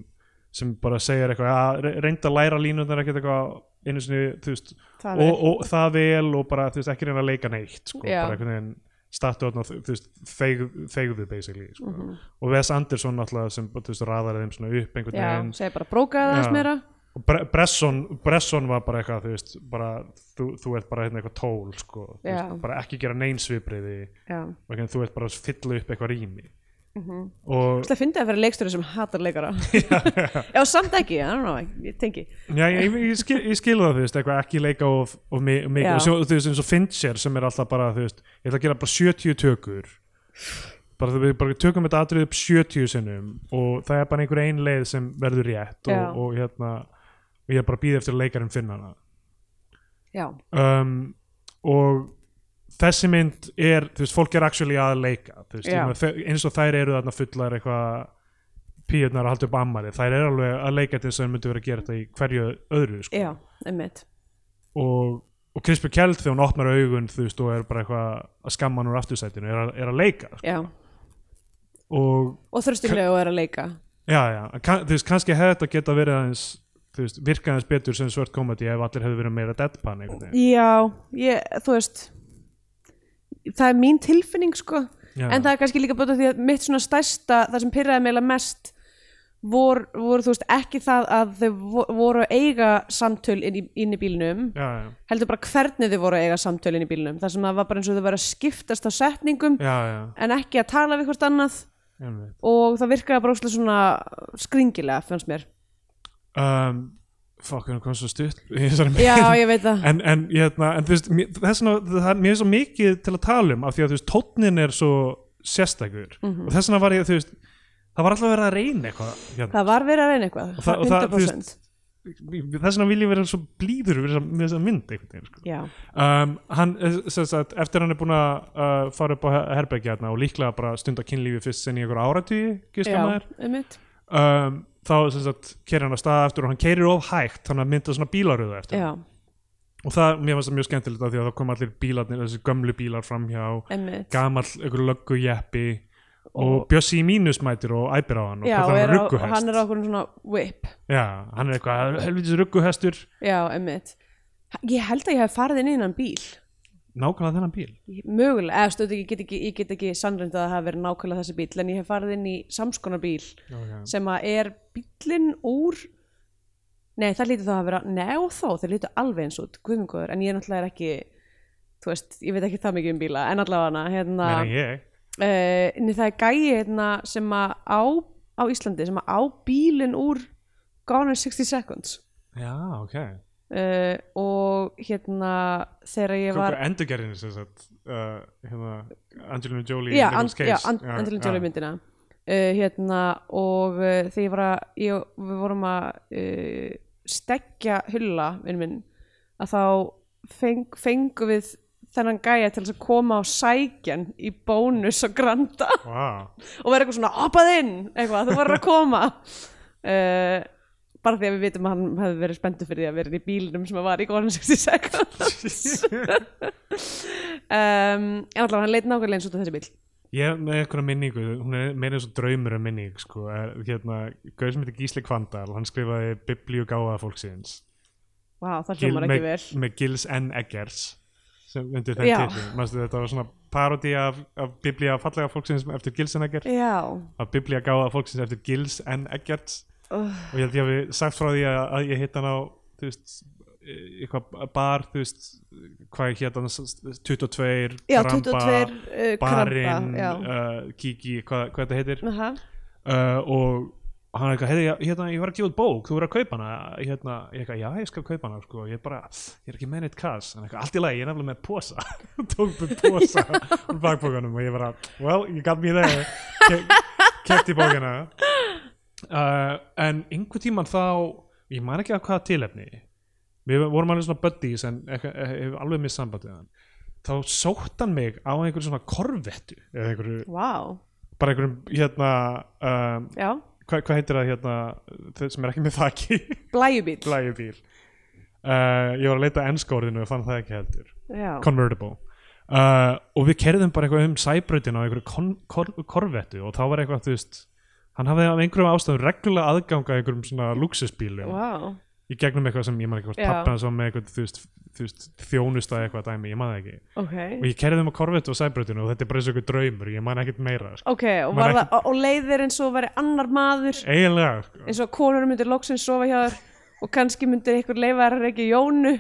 sem bara segir eitthvað, að re- reyndu að læra línunar ekkert eitthvað einu sinni, þú veist, það og, og það vel og bara, þú veist, ekki reyna að leika neitt, sko, Já. bara einhvern veginn startu þarna, þú veist, þeigðu, þeigðu basically, sko, Mhm. og Wes Anderson náttúrulega sem, þú veist, raðar þeim svona upp einhvern er já, veginn segi bara brókaði Já. aðeins meira og Bre Bresson, Bresson var bara eitthvað þú veist, bara, þú, þú ert bara hérna eitthvað tól sko, Þú Já. veist, bara ekki gera neinsvipriði já, og hérna, þú ert bara að fylla upp eitthvað rými mhm og Það fyndi að vera leikstöru sem hatar leikara Já, samt ekki, I don't know, ég tengi já, ég, ég, ég, skil, ég skil það þú veist, eitthvað ekki leika of, of mi- mikið Já. og svo, þú veist eins og Fincher sem er alltaf bara þú veist, ég ætla að gera bara 70 tökur bara þú veist, bara tökum þetta atrið upp 70 sinnum og það er bara einhver ein leið sem verður rétt Já. og, og hérna og ég er bara að býða eftir að leikarinn finna hana Já, um, og þessi mynd er, þú veist, fólk er actually að leika, þú veist, Já. ég meina, þe- eins og þær eru þarna fullar eitthvað píurnar að halda upp ammali, þær eru alveg að leika til þess að þær myndu verið að gera þetta í hverju öðru, sko já, emmitt og, og Krispy Kjeld þegar hún opnar augun þú veist og er bara eitthvað að skamma hann úr aftursætinu, er, að- er að leika sko. já. og og þröstinglega og er að leika já, já, kann, þú veist kannski hefði þetta geta verið aðeins þú veist, virka aðeins betur sem svört komedi ef allir hefðu verið meira deadpan einhvern veginn. já, ég, þú veist það er mín tilfinning sko Já. en það er kannski líka bóta því að mitt svona stærsta það sem pyrraði meila mest voru, voru þú veist ekki það að þau vo- voru að eiga samtöl inn í, inn í bílnum já, já, heldur bara hvernig þau voru að eiga samtöl inn í bílnum þar sem það var bara eins og þau verið að skiptast á setningum já, já, en ekki að tala við hvort annað einmitt. og það virkaði bara óslega svona skringilega fannst mér um, fuck, hún kom svo stutt í þessari mynd. já ég veit það en, en, hérna, en þú veist mér- þess vegna, það er mér er svo mikið til að tala um af því að þú veist, tónnin er svo sérstakur Mhm. og þess vegna var ég, þú veist það var alltaf verið að reyna eitthvað hérna. það var verið að reyna eitthvað Og það- og það, þú 100% þess vegna vil ég vera svo blíður við þessa- með þessa mynd einhvern veginn sko. já, um, hann, eh, sem sagt, eftir hann er búin að uh, fara upp á herbergi hérna og líklega bara stunda kynlífi fyrst sinn í einhver áratugi já, giska einmitt maður um, þá sem sagt keirir hann að staða eftir og hann keirir of hægt þannig að mynda svona bílaröða eftir já, og það, mér finnst það mjög skemmtilegt af því að þá kom allir bílarnir, þessi gömlu bílar framhjá einmitt gamall, einhver löggu jeppi og, Bjössi í mínus mætir og æpir á hann og já, og kallar hann er á, rugguhest hann er á okkur svona whip já, hann er eitthvað helvitis rugguhestur já, einmitt ég held að ég hef farið inn í innan bíl nákvæmlega þennan bíl Ég- mögulega, eða stöðu ekki, ég get ekki, ég get ekki sannrind að það hafi verið nákvæmlega þessi bíl en ég hef farið inn í samskonar bíl okay. sem að er bílinn úr nei það lítið þá að vera nei og þá, þeir lítið alveg eins út guðmingur, en ég náttúrulega er ekki þú veist, ég veit ekki það mikið um bíla en allavega hana, hérna meira en ég uh, en það er gæi hérna sem að á, á Íslandi sem að á bílinn úr Gone in 60 Seconds já, ok uh, og hérna þegar ég var endurgerðinu sem sagt uh, hérna, Angelina Jolie í já, Nicolas and, Cage. já, and, Angelina Jolie myndina uh, hérna og uh, þegar ég var að ég, við vorum að uh, stekja hulla minn minn að þá feng, fengum við þennan gæja til þess að koma á sækjan í bónus og granda Vá. og vera eitthvað svona opað inn eitthvað, þú voru að koma uh, bara því að við vitum að hann hefði verið spenntu fyrir því að vera inn í bílinum sem að var í Gordon 66 um, en allavega hann leit nákvæmlega eins út af þessi bíl ég er með einhverja minningu hún er meira eins og draumur en minning sko. Er, hérna, Gauð sem heitir Gísli Kvandal hann skrifaði Biblíu gáða fólksins Vá, það hljómar ekki vel með, með Gils N. Eggers sem undir Já. þeim titli Manstu, þetta var svona parodi af, af Biblíu fallega fólksins eftir Gils N. Eggers Já, af Biblíu gáða fólksins eftir Gils N. Eggers uh, og ég held ég hafi sagt frá því að, að ég hitt hann á þú veist e- eitthvað bar, þú veist hvað ég hétt hann, s- s- 22 já Kramba, 22 uh, barinn, eh, kramba já. uh, Kiki hvað, hvað þetta heitir Aha, uh, og hann er eitthvað, heyrðu, ég- hérna, ég var að gefa út bók þú verður að kaupa hana, hérna, ég eitthvað, já, ég skal kaupa hana, sko, ég er bara, ég er ekki með neitt kass, hann eitthvað, allt í lagi, ég er nefnilega með posa tók með posa úr bakbókanum og ég bara, well, you got me there Ke- keypti bókina uh, en einhver tíman þá, ég man ekki af hvaða tilefni við vorum alveg svona buddies en ekki- eh, hef alveg mist sambandið hann þá sótt hann mig á einhverju svona korvettu eða einhverju, Vá, bara einhverjum hérna um, já, hvað hva heitir það hérna þau sem er ekki með þakki blæjubíl blæjubíl uh, ég var að leita að enska orðinu og fann það ekki heldur Já, convertible uh, og við kerðum bara eitthvað um sæbrautina á einhverju kon, kor, korvettu og þá var eitthvað þú veist hann hafði af einhverjum ástæðum reglulega aðganga að einhverjum svona luxusbílum vá, í gegnum eitthvað sem ég maður ekki hvort Já. pappa hans var með eitthvað þú veist, þú veist þjónusta eitthvað dæmi, ég maður ekki ok og ég kerði um á korvettu og sæbrautinu og þetta er bara eins og einhver draumur, ég man ekkert meira sko. Ok, og, Man var ekki- það, og- og leiðir eins og væri annar maður eiginlega sko. eins og konur myndir loksins sofa hjá þér og kannski myndir einhver leifa þær ekki Jónu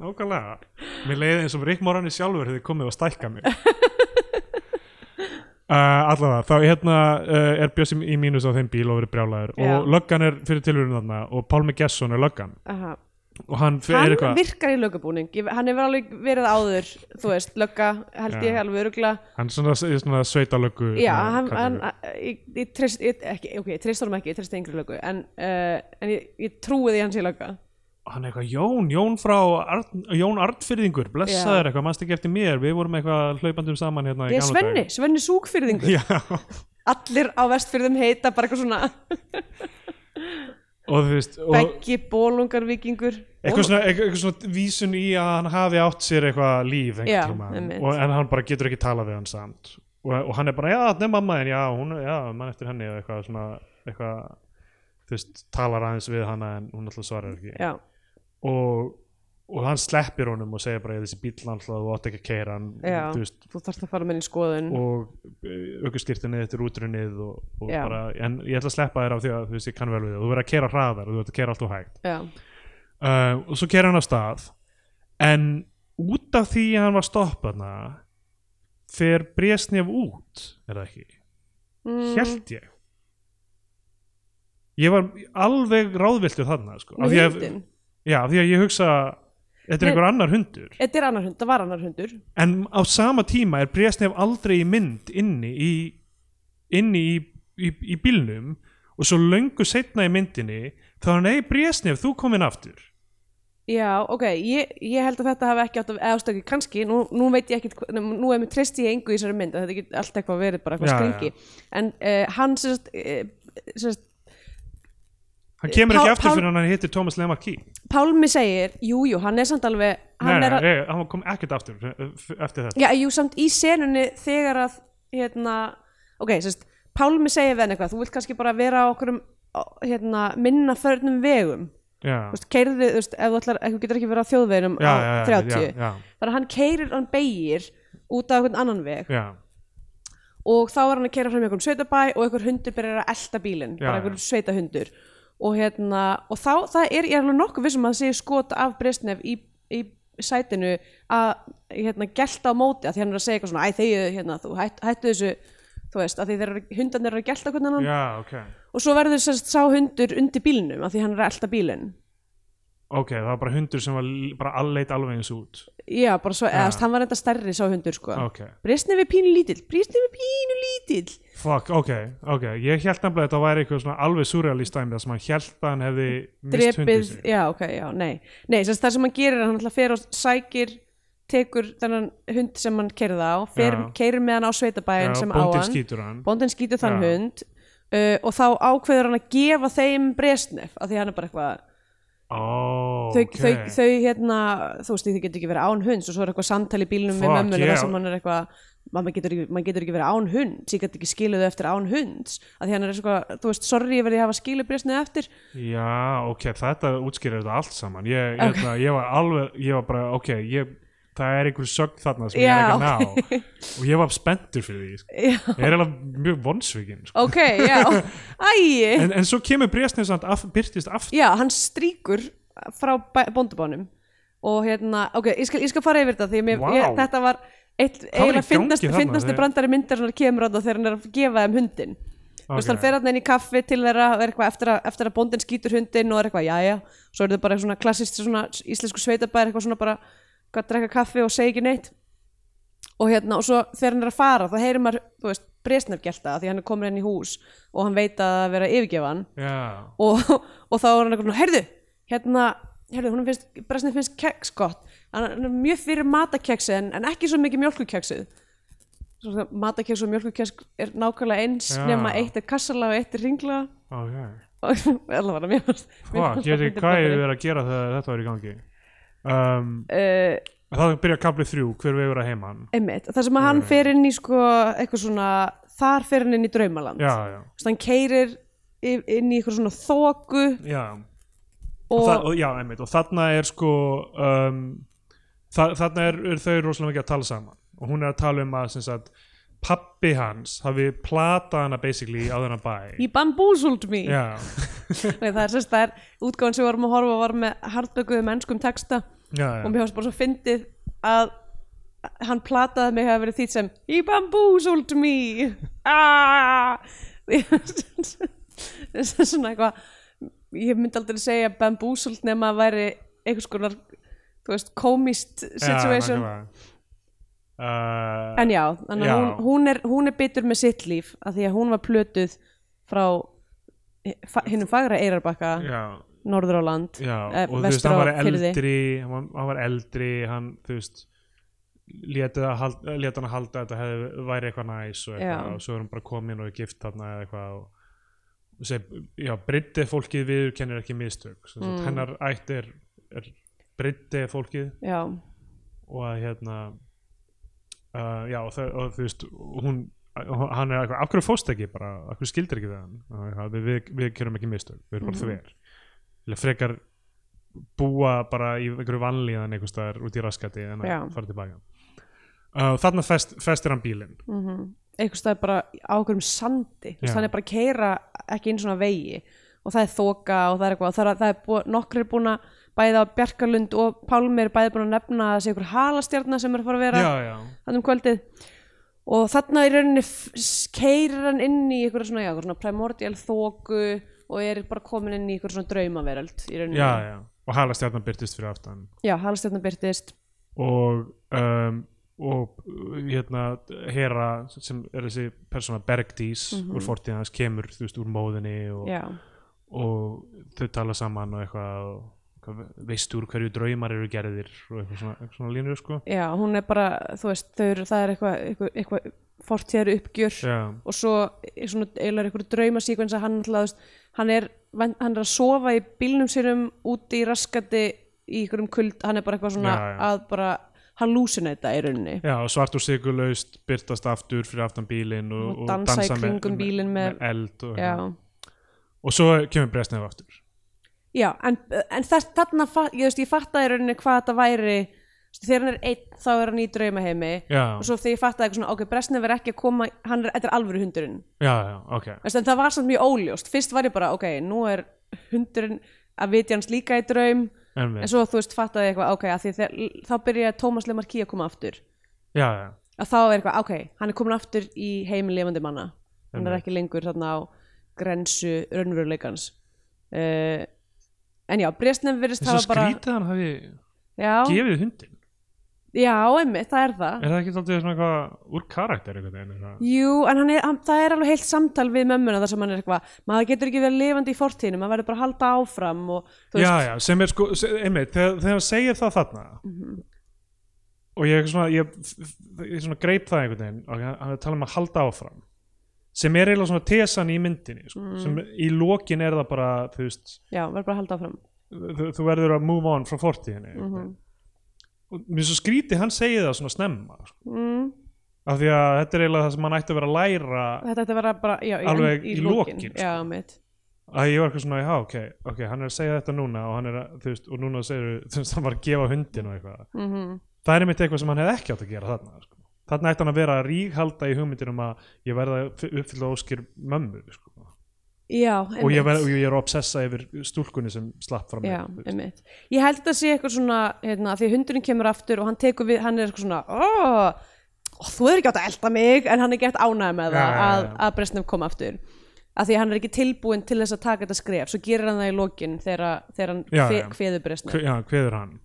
Nákvæmlega. Mér leiði eins og Rick Morani sjálfur hefði komið og stækka mig. Uh, allavega, þá hérna uh, er Bjössi í mínus á þeim bíl og verið brjálæður Já. og löggan er fyrir tilhjörun þarna og Pálmi Gesson er löggan Aha. og hann, fer- er hann eitthvað, virkar í lögabúning Ég- hann hefur alveg verið áður þú veist, lögga held ég Já. alveg örugla hann er svona, er svona sveita löggu já, hann, hann ég, ég eh, treyst ég, ekki, ok, ég treyst honum ekki, ég treyst yngri löggu en, uh, en ég, ég trúi því að hann sé lögga hann er eitthvað Jón, Jón frá Arn, Jón Arnfyrðingur, blessaður eitthvað, mannst ekki eftir mér, við vorum eitthvað hlaupandum saman hérna í Ég er gamla Svenni, Svenni Súkfyrðingur daga. Já, Allir á vestfyrðum heita bara eitthvað svona og þú veist og Beggi, Bólungarvíkingur eitthvað svona, eitthvað, eitthvað svona vísun í að hann hafi átt sér eitthvað líf Já, einhvern tímann einmitt. og, en hann bara getur ekki talað við hann samt og, og hann er bara, já, þetta er mamma þín, já, hún, já, mann eftir henni og eitthvað svona, eitthvað þú veist, talar aðeins við hana en hún alltaf svarar ekki Já, og, og hann sleppir honum og segir bara "Ég, þessi bíll alltaf, þú átt ekki að keira hann já, Mm. þú veist, þú þarft að fara með henni í skoðun og aukurskirtinni þetta er útrunnið og, og Já. bara, en ég ætla að sleppa þér af því að þú veist, ég kann vel við það, þú verður að keira hraðar þú verður að keira alltaf hægt Já, uh, og svo ker hann af stað en út af því að hann var stoppaðna fer Bresnef út er það ekki, mm, held ég ég var alveg ráðviltur þarna sko. af með því að, hundin já, af því að ég hugsa þetta er Nei. einhver annar hundur Þetta er annar hund, það var annar hundur en á sama tíma er Bresnef aldrei í mynd inni í, inni í, í, í bílnum og svo löngu setna í myndinni þá er hann, ei Bresnef, þú komin aftur Já, ok, ég, ég held að þetta hafi ekki átt að eða ástöki, kannski, nú, nú veit ég ekkit hva- nú nú er mér treyst ég engu í þessari mynd að þetta getur allt eitthvað verið bara eitthvað Já, skringi en uh, hann sérst, uh, sérst hann kemur Pál- ekki aftur Pál- fyrir hann hittir Thomas Lemarki Pálmi segir, jú, jú, hann er samt alveg Nei, hann nei, er að, nei, hann kom ekkert aftur eh, f- eftir þetta já, jú, samt í senunni þegar að, hérna ok, sérst, Pálmi segir við hann eitthvað þú vilt kannski bara vera á okkur um hérna, minna förnum vegum Já, Þú veist, keirðu, þú veist, ef þú ætlar, ef þú getur ekki verið á þjóðveginum já, á já, já, 30 já, já, þannig að hann keirir, hann beigir út af einhvern annan veg já, og þá er hann að kera fram í einhverjum sveitabæ og einhver hundur byrjar að elta bílinn Já, bara já. einhverjum sveitahundur og, hérna, og þá það er, ég er alveg nokkuð vissum að það sé skot af Brestnef í, í sætinu að hérna, gelta á móti að því hann er að segja eitthvað svona æ þegju, hérna, þú hætt, hættu þessu þú veist, að því þeir eru, hundarnir eru að gelta hvernig annan já, ok og svo verður sérst sá hundur undir bílnum að því hann er að elta bílinn Ok, það var bara hundur sem var l- bara alleit alveg eins út já, bara svo, Já. eða þú veist, hann var enda stærri sá hundur sko Ok, Brestnef er pínu lítill, Brestnef er pínu lítill fuck, ok, ok Ég held nefnilega að þetta væri eitthvað svona alveg surrealist dæmi þar sem hann held að hann hefði mist hundur drepið, sig já ok, já, nei nei, þess að það sem hann gerir er að hann alltaf fer og sækir tekur þennan hund sem hann kerði á, fer, Já. keirir með hann á sveitabæin sem á bóndin hann, skýtur hann bóndin skýtur þann Já. hund uh, og þá ákveður hann að gefa þeim bresnef, af því hann er bara eitthvað Ó, þau, ok þau, þau hérna, þú veist, þau getur ekki verið án hund og svo er eitthvað samtali í bílnum með Fuck, mömmunni yeah. þar sem hann er eitthvað maður getur, ekki, maður getur ekki verið án hund ég get ekki skiluðu eftir án hund að því hann er eitthvað, þú veist, sorry ég verði að hafa skilu bresnið eftir Já, ok, þetta útskýrir þetta allt saman Ég, okay. hérna, ég var alveg, ég var bara, ok ég, Það er einhver sögn þarna sem ég Já, er ekki að ná Og ég var spenntur fyrir því sko. já, Ég er alveg mjög vonsvikinn sko. ok, já, æi en, en svo kemur Bresnes af, byrtist aftur Já, hann strýkur frá bæ- bóndabánum og hérna, ok, ég skal, ég skal fara yfir þetta því að mér, Vá. ég, þetta var eitt, eiginlega í gangi finnast, þarna, finnastu þegar- brandari myndar hann kemur á þetta þegar hann er að gefa þeim hundin þú Ok. veist, hann fer hann inn í kaffi til þeirra og er eitthvað eftir að, eftir að bóndin skýtur hundin og er eitthvað, jæja, svo er þetta bara svona klassist svona íslensku sveitabæðir eitthvað svona bara hvað að drekka kaffi og segja ekki neitt og hérna, og svo þegar hann er að fara þá heyrir maður, þú veist, bresnafgelta því hann er komin henni í hús og hann veit að það er verið að yfirgefa hann Já, og, og þá er hann eitthvað svona, heyrðu hérna, heyrðu, hún finnst, Bresnið finnst keks gott, hann hann er mjög fyrir matakeksi en, en ekki svo mikið mjölkukeksið Svo það- matakeks og mjölkukeks er nákvæmlega eins Já. nema eitt er kassala og eitt er ringla ok og allavega mér fannst mér Fuck, fannst ég veit ekki það fyndið hvað ég brandari. verið að gera þegar þetta var í gangi um, Eh, Það byrja kaplið þrjú, hver vegur að heiman einmitt, það sem að hann fer inn í sko, eitthvað svona, þar fer hann inn í draumaland Já, já, Svo hann keirir inn í eitthvað svona þóku já og, Og, það, og, já, einmitt, og þarna er sko um, það, þarna er, er þau rosalega mikið að tala saman og hún er að tala um að sem sagt, pappi hans hafi platað hana basically á þennan bæ he bamboozled me Já, Nei, það er sérst, það er útgáðan sem við vorum að horfa var með hardbökuðu mennskum texta já, já, og mér fannst bara svo fyndið að hann plataði mig hafa verið þýtt sem He bamboozled me ah! Þess að svona eitthvað ég myndi aldrei segja bamboozled nema að væri einhvers konar þú veist, komist situation nákvæmlega. Uh, en já, þannig Já. að hún, hún, er, hún er bitur með sitt líf af því að hún var plötuð frá hinnum eh, fagra eirarbakka Já, norður á land Já, Eh, og þú veist, vestur hann á var firði. eldri hann var, hann var eldri, hann, þú veist leta hann að halda að þetta hefði, væri eitthvað næs og, eitthvað, Já. og svo er hann bara komin og er gift þarna eða eitthvað og, og seg, já, breytti fólkið viður kennir ekki mistök Sem sagt, Mm. hennar ætt er, er breytti fólkið já, og að hérna uh, já og, það, og þú veist hún, hann er eitthvað, af hverju fórst ekki bara, af hverju skildir ekki við hann Og eitthvað, við, við, við kerum ekki mistök, við erum bara Mhm. þver vilja frekar búa bara í einhverju vanlíðan einhvers staðar út í raskati en að Já. fara tilbaka uh, þarna fest, festir hann bílinn mhm einhvers stað bara á okkurum sandi Þú veist, Já. hann er bara að keira ekki einu svona vegi og það er þoka og það er eitthvað og það er, það er búið, nokkrir búin að bæði á Bjarkarlund og Pálmi er bæði búin að nefna að það sé ykkur halastjarnar sem er að fara að vera já, já, þannig um kvöldið og þarna í rauninni keirir hann inn í ykkur svona, já, einhverja svona primordial þóku og er bara komin inn í ykkur svona draumaveröld í rauninni. já, já og halastjarnan byrtist fyrir aftan já halastjarnan byrtist og um, og uh, hérna Hera sem er þessi persóna Bergdís úr fortíðan hans kemur þú veist úr móðinni og, Mhm. já, og þau tala saman og eitthvað og eitthvað, veistu úr hverju draumar eru gerðir og eitthvað svona, eitthvað svona línur sko já, hún er bara þú veist, þau eru, það er eitthvað eitthvað, eitthvað fortíðar uppgjör já, og svo er svona eiginlega einhver draumasíkvens að hann alltaf, þú veist, hann er hann er að sofa í bílnum sérum úti í raskati í einhverjum kuld hann er bara eitthvað svona Já, já. að bara hallucinata í rauninni já og svart og sigurlaust byrtast aftur fyrir aftan bílinn og, Og dansa í með- kringum bílinn með- með eld og, já. eitthvað. og svo kemur Bresnef aftur Já, en, en þess, þarna fa- ég, þú veist, ég fattaði í rauninni hvað þetta væri þú veist, þegar hann er einn þá er hann í draumaheimi já, og svo þegar ég fattaði eitthvað svona, ok, Bresnef er ekki að koma hann er, þetta er alvöru hundurinn já, já, ok Veistu, en það var samt mjög óljóst, fyrst var ég bara ok, nú er hundurinn að vitja hans líka í draum en við, en svo þú veist fattaði ég eitthvað, ok, að því þegar, þá byrja Tómas Lemarki að koma aftur já, já, að þá er eitthvað, ok, hann er komin aftur í heiminn lifandi manna hann er Einmitt. ekki lengur þarna á grensu raunveruleikans uh, en já, Bresnef virðist þess að hafa bara skrítið hann hafi Já, gefið hundin já, einmitt, það er það er það ekki alltaf svona eitthvað úr karakter einhvern veginn eitthvað? Jú, en hann er, hann, það er alveg heilt samtal við mömmuna þar sem hann er eitthvað maður getur ekki verið lifandi í fortíðinu, maður verður bara að halda áfram og þú já veist, já sem er sko sem, einmitt þegar, þegar hann segir það þarna Mhm. og ég, er svona, ég, ég svona greip það einhvern veginn og hann hann er að tala um að halda áfram sem er eiginlega svona tesan í myndinni sko, Mhm. sem í lokin er það bara þú veist já, verður bara að halda áfram þú, þú verður að move on frá fortíðinni mm Mhm. -hmm. og mér svo skríti hann segir það svona snemma sko, mm, af því að þetta er eiginlega það sem hann ætti að vera að læra Þetta ætti að vera bara, já, Alveg í, í í lokin, lokin sko. Já, mitt, að ég var eitthvað svona, já, ok, ok, hann er að segja þetta núna og hann er að, þú veist, og núna segir þú veist, hann var að gefa hundin og eitthvað mm það er einmitt eitthvað sem hann hefði ekki átt að gera þarna sko. þarna ætti hann að vera að ríghalda í hugmyndir um að ég verða að f- uppfylla óskir mömmu, sko, já, og ég, einmitt. verð, og ég er að obsessa yfir stúlkunni sem slapp fram Já, einmitt. Ég held þetta sé eitthvað svona hérna, því hundurinn kemur aftur og hann tekur við hann er eitthvað svona "Ó, ó, þú er ekki átt að elda mig en hann er gett ánægð Já, með það já, já. að, að Bresnum kom aftur af því að hann er ekki tilbúin til þess að taka þetta skref svo gerir hann það í lokin þegar, þegar hann Já, hve- já. kveður Bresnum Hve- já, hveður hann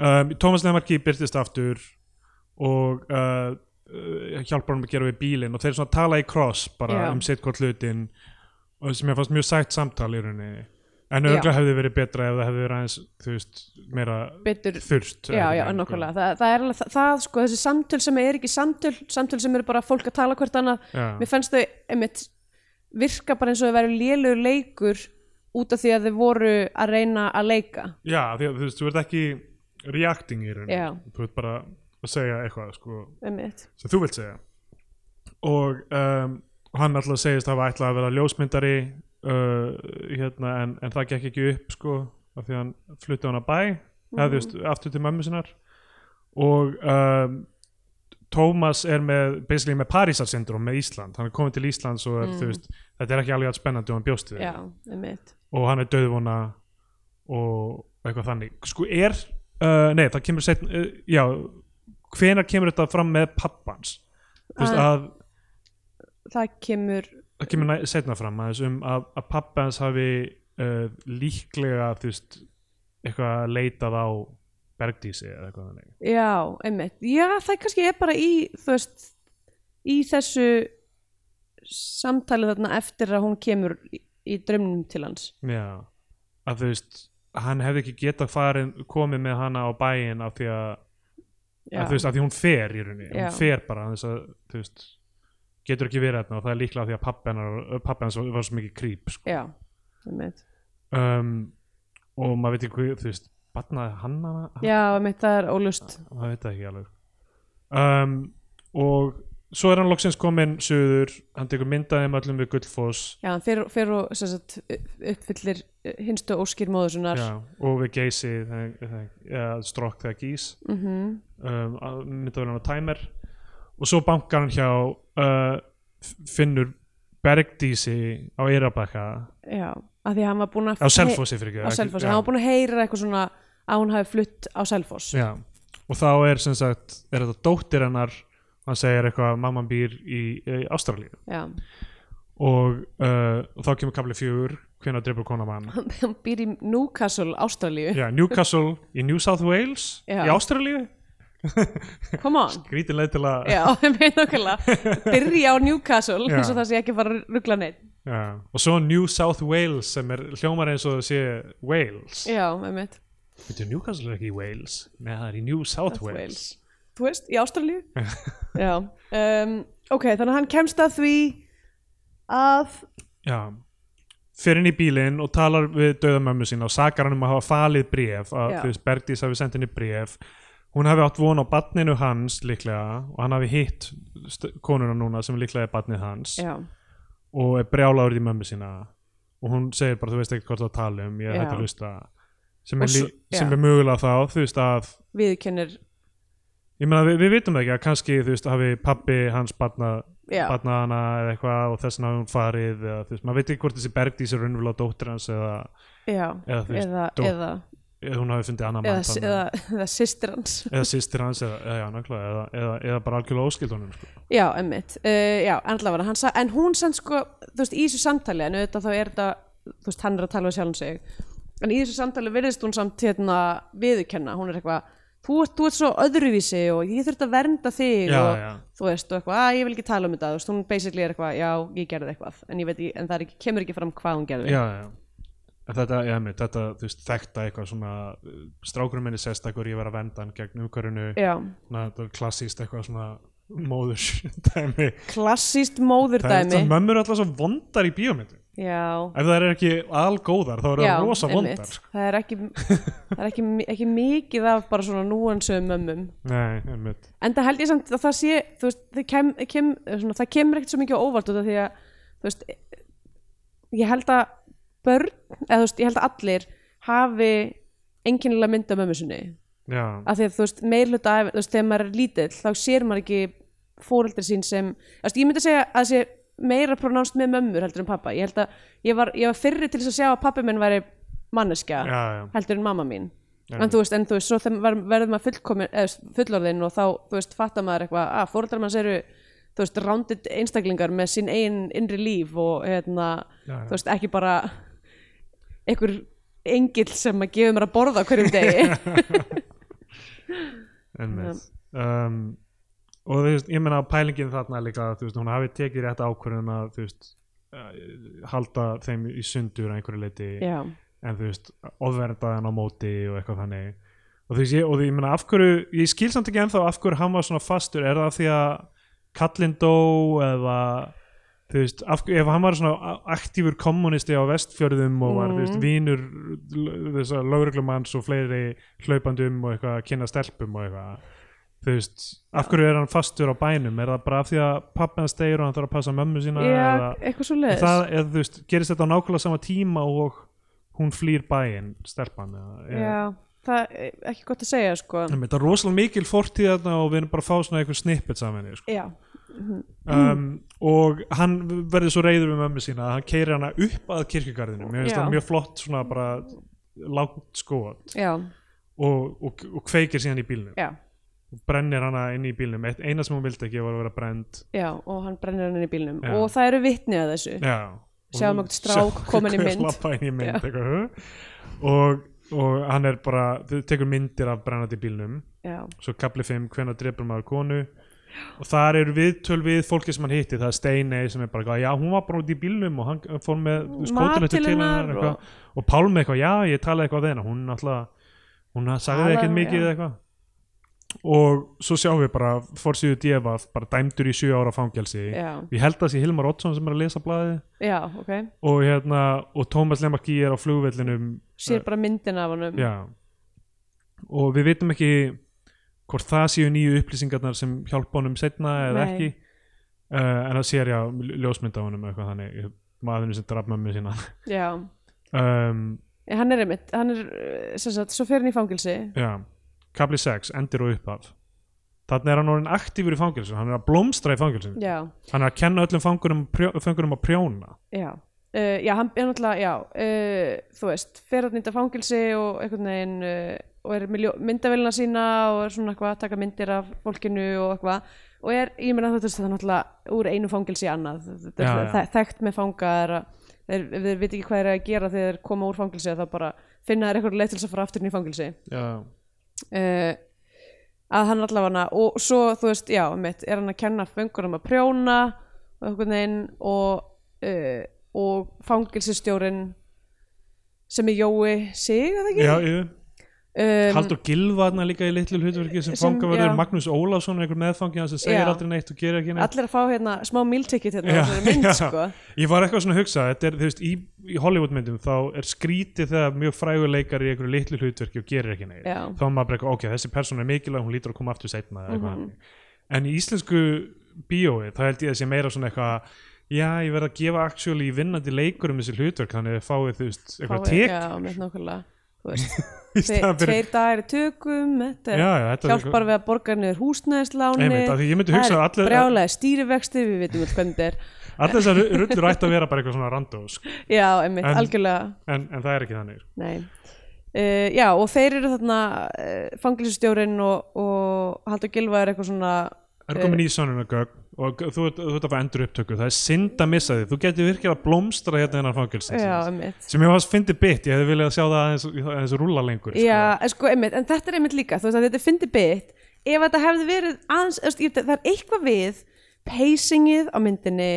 um, Thomas Lemarki byrtist aftur og uh, uh, hjálpar hann að gera við bílinn og þeir svona tala í cross bara Já. um sitt hvort hlutin og sem ég fannst mjög sætt samtal í rauninni en Já. örgulega hefði verið betra ef það hefði verið aðeins þú veist, meira Betur, þurft já, já, nokkulega það, það er alveg það, það sko, þessi samtöl sem er ekki samtöl samtöl sem eru bara fólk að tala hvert annað já, mér fannst þau einmitt virka bara eins og þau væri lélugur leikur út af því að þau voru að reyna að leika já því, að, þú veist, þú ert ekki reacting í rauninni Já. þú ert bara að segja eitthvað sko, einmitt sem þú vilt segja og um, hann alltaf segist hafa ætlað að vera ljósmyndari uh, hérna, en, en það gekk ekki upp sko, af því að hann flutti hann að bæ eða þú veist, aftur til mömmu sinnar og um, Tómas er með, basically með Parísarsyndrom með Ísland, hann er komið til Íslands og er, þú veist, þetta er ekki alveg allt spennandi og hann bjóst við því. Já, einmitt. og hann er döðvona og eitthvað þannig sko er, uh, nei það kemur setn, uh, já, hvenær kemur þetta fram með pappans þú veist Ah. að, Það kemur, það kemur setna fram aðeins um að, að pappans hafi uh, líklega þú veist, eitthvað leitað á bergdísi eða eitthvað þannig já, einmitt. Já, það kannski er bara í, þú veist, í þessu samtali þarna eftir að hún kemur í, í draumnum til hans. já að þú veist hann hefði ekki getað farin, komið með hana á bæinn af því að, já, að þú veist, af því hún fer í rauninni, Já. hún fer bara af þess að, þú veist getur ekki verið þarna og það er líklega af því að pappi hennar pappi hans var svo mikið krýp sko. já, einmitt. um, og maður veit ekki hvað, þú veist barnaði hann hana, já, einmitt, það er ólust maður veit það ekki alveg um, og svo er hann loksins kominn suður, hann tekur myndaði með öllum við Gullfoss já, hann fer, fer og sem sagt, uppfyllir eh, hinstu óskir móður sinnar Já, og við geysi þegar- þegar- eða strokk þegar gís mm -hmm. um, að- mynda vel hann á timer og svo bankar hann hjá uh, f- finnur Bergdísi á Eyrabakka já, af því að hann var búin að á Selfossi fyrir ekki á Selfoss, hann var búin að heyra eitthvað svona að hún hafi flutt á Selfoss Já, og þá er sem sagt er þetta dóttir hennar hann segir eitthvað að mamman býr í, í Ástralíu já, og, uh, og þá kemur kafli fjögur hvenær dreipur kona mann hann býr í Newcastle, Ástralíu Já, Newcastle í New South Wales Já. í Ástralíu, come on grítinlega til að já, ég veit okkarlega byrja á Newcastle, Já. eins og það sé ekki að fara að ruggla neitt Já. og svo New South Wales sem er hljómar eins og það sé Wales já, einmitt, Þetta Newcastle er ekki í Wales Nei, það er í New South South Wales, Wales þú veist, í Ástralíu já, um, ok, þannig að hann kemst að því að Já Fer inn í bílinn og talar við döðamömmu sína og sakar hann um að hafa falið bréf að Já. þú veist Bergdís hafi sendt henni bréf hún hafi átt von á barninu hans líklega og hann hafi hitt st- konuna núna sem líklega er barnið hans já, og er brjálaður í mömmu sína og hún segir bara þú veist ekkert hvort það tala um ég Já. hætti að hlusta sem Og er, svo- lí- sem já. er mögulega þá þú veist að viðkennir ég meina við, við vitum það ekki að kannski þú veist hafi pappi hans barna Já. barna hana eða eitthvað og þess vegna hafi hún farið eða þú veist maður veit ekki hvort þessi Bergdís er raunverulega dóttir hans eða, já, Eða þú veist, eða, dó- eða, eða hún hafi fundið annan eða, mann þarna, eða, eða systir hans eða sýstir hans eða, eða, já, nákvæmlega, eða, eða, eða bara algjörlega óskild honum sko. Já, emmitt, uh, já, allavega hann sa- en hún sem sko, þú veist, í þessu samtali en auðvitað þá er þetta, þú veist, hann er að tala við sjálfum sig, en í þessu samtali virðist hún samt hérna viðurkenna hún er eitthvað, þú ert, þú ert svo öðruvísi og ég þurft að vernda þig Já, og, já. þú veist, og eitthvað, að ég vil ekki tala um þetta þú veist, hún basically er eitthvað, já, ég gerði eitthvað en ég veit ekki, en það er ekki, kemur ekki fram hvað hún gerði já, já En þetta, já, mitt, þetta, þú veist, þekta eitthvað svona uh, strákurinn minni sérstakur, ég verð að venda hann gegn umhverfinu, já. svona, þetta er klassíst eitthvað svona móðurs dæmi. klassíst Það er móðurdæmi þetta, mömmur er alltaf svo vondar í bíómyndum. já, Ef það er ekki algóðar, þá eru já, það rosa einmitt. vondar. sko. það er ekki, það er ekki, ekki mikið af bara svona núansum mömmum Nei, einmitt. en það held ég samt að það sé þú veist, það, kem, kem, svona, það kemur ekkert svo mikið á óvart út af því að þú veist, ég held að börn, eða þú veist, ég held að allir hafi einkennilega mynd af mömmu sinni Já, af því að þú veist, meirluta af, þú veist, þegar maður er lítill þá sér maður ekki fóreldri sín sem, þú veist, ég myndi að segja að það sé meira pronánst með mömmur heldur en pappa ég held að, ég var, ég var fyrri til þess að sjá að pappi minn væri manneskja já, já. heldur en mamma mín Já. en þú veist, en þú veist, svo þegar var- verður maður fullkomin, eða, þú veist, fullorðinn og þá, þú veist, fattar maður eitthvað, að fóreldrar manns eru þú veist, rándið einstaklingar með sín eigin innri líf og hérna, Já, já. þú veist, ekki bara einhver engill sem að gefa mér að borða á hverjum degi einmitt. Um, og þú veist, ég meina pælingin þarna líka, þú veist, hún hafi tekið rétt ákvörðun að, þú veist, eh, halda þeim í sundur að einhverju leiti, já, en þú veist, ofverðaðan á móti og eitthvað þannig. Og þú veist, ég, og þú- ég meina af hverju, ég skil samt ekki ennþá af hverju hann var svona fastur, er það því að kallinn dó eða þú veist, af, ef hann var svona a- aktífur kommunisti á vestfjörðum og var, þú veist, vinur l- þessa lögreglumanns og fleiri hlaupandum og eitthvað, kynna stelpum og eitthvað þú veist, af hverju er hann fastur á bænum, er það bara af því að pappi hans deyr og hann þarf að passa mömmu sína já eða, eitthvað svo er leiðis það, eða þú veist, gerist þetta á nákvæmlega sama tíma og hún flýr bæinn stelpan eða, eða- já, það er ekki gott að segja sko, Nei, þetta er rosalega mikil fortíð þarna og við erum bara að fá svona einhver snippet saman sko. já, Mm. um, og hann verður svo reyður við mömmu sína að hann keirir hana upp að kirkjugarðinu mér finnst Já. það mjög flott svona bara lágt skot já, og, og, og kveikir síðan í bílnum já brennir hana inn í bílnum Eitt, eina sem hún vildi ekki var að vera brend já, og hann brennir hann inn í bílnum Já. og það eru vitni að þessu já Og Sjáum hún- um einhvern strák sjáum kominn í einhvern mynd. labba inn í mynd eitthvað, huh? og, og hann er bara þau tekur myndir af brennandi bílnum já, svo kapli 5 hvenær drepur maður konu og þar eru viðtöl við fólki sem hann hitti það er Steinei sem er bara eitthvað, já hún var bara út í bílnum og hann eh, fór með skótulötu til hennar hennar og- og, og Pálmi eitthvað, já ég talaði eitthvað við hennar hún náttúrulega, hún sagði Talaði, ekkert mikið já. eitthvað og svo sjáum við bara Forsíðu Djefaf bara dæmdur í sjö ára fangelsi Já, ég held að það sé Hilmar Oddsson sem er að lesa blaðið já, ok og hérna, og Tómas Lemarki er á flugvellinum Sér bara myndin af honum Eh, Já og við vitum ekki hvort það séu nýju upplýsingarnar sem hjálpa honum setna eða Nei. ekki uh, en það sér já ljó- ljósmynd á honum eða eitthvað þannig maðurinn sem draf mömmu sína Já. um, Eh, Hann er einmitt, hann er eh, sem sagt, svo fer hann í fangilsi já, kapli 6, endir og upphaf þannig er hann orðin aktífur í fangilsinu hann er að blómstra í fangilsinu Já, hann er að kenna öllum fangurum, prjó, fangurum að prjóna já Uh, já, hann er náttúrulega, já, uh, þú veist, fer að nýta fangilsi og einhvern veginn uh, og er með ljó- myndavélina sína og er svona eitthvað að taka myndir af fólkinu og eitthvað og er, ég meina þú veist, það er náttúrulega úr einu fangilsi í annað, þetta er Já, já. þe- þekkt með fanga er að þeir, ef þeir veit ekki hvað þeir eru að gera þegar þeir koma úr fangilsi þá bara finna þeir eitthvað leið til þess að fara aftur inn í fangilsi já, uh, að hann allavega og svo þú veist, já, mitt, er hann að kenna fengurum að prjóna og einhvern veginn og, uh, og fangilsistjórin sem er Jói Sig, eða ekki? já yfir um, Haldur Gilva þarna líka í litlu hlutverki sem, sem- fangaverður já. Magnús Ólafsson er einhver meðfangi hans sem segir Já. aldrei neitt og gerir ekki neitt allir að fá hérna smá mealticket hérna á Já, þessari mynd, já. sko Ég var eitthvað svona að hugsa, þetta er, þú veist, í, í Hollywoodmyndum þá er skrítið þegar mjög frægur leikari í einhverju litlu hlutverki og gerir ekki neitt. Já. Þá er maður bara eitthvað, ok, þessi persóna er mikilvæg, hún lítur að koma aftur setna. Mm Mhm. En í íslensku bíói, þá held ég að sé meira svona eitthvað, já, ég verð að gefa actually vinnandi leikur um þessi hlutverk, þannig að fáið, þú veist, eitthvað Fáið- tek. já, mitt nákvæmlega þú veist, í tve, staðan fyrir- tveir dagar í tökum þetta er Já, já, þetta er hjálpar eitthvað- við að borga niður húsnæðisláni Einmitt, af því ég myndi hugsa að það allir- er brjálega stýrivexti við veitum öll hvernig þetta er Alltaf þessar ru- rullur ætti að vera bara eitthvað svona randós, já, einmitt, En- algjörlega en, en það er ekki þannig. Nei. Uh, já, og þeir eru þarna uh, fangilsustjórin og, og Haldur Gilva er eitthvað svona Það er komin Eh. í sannunagögg og g- þú, ert- þú ert að fá endur upptöku, það er synd að missa því, þú getur virkilega að blómstra hérna innan fangilsins Já, einmitt sem ég varst fyndi bytt, ég hefði viljað sjá það aðeins, aðeins rúla lengur sko. Já, en sko, einmitt, en þetta er einmitt líka þú veist að þetta er fyndi bit ef þetta hefði verið aðeins, þú veist, ég- það er eitthvað við pacingið á myndinni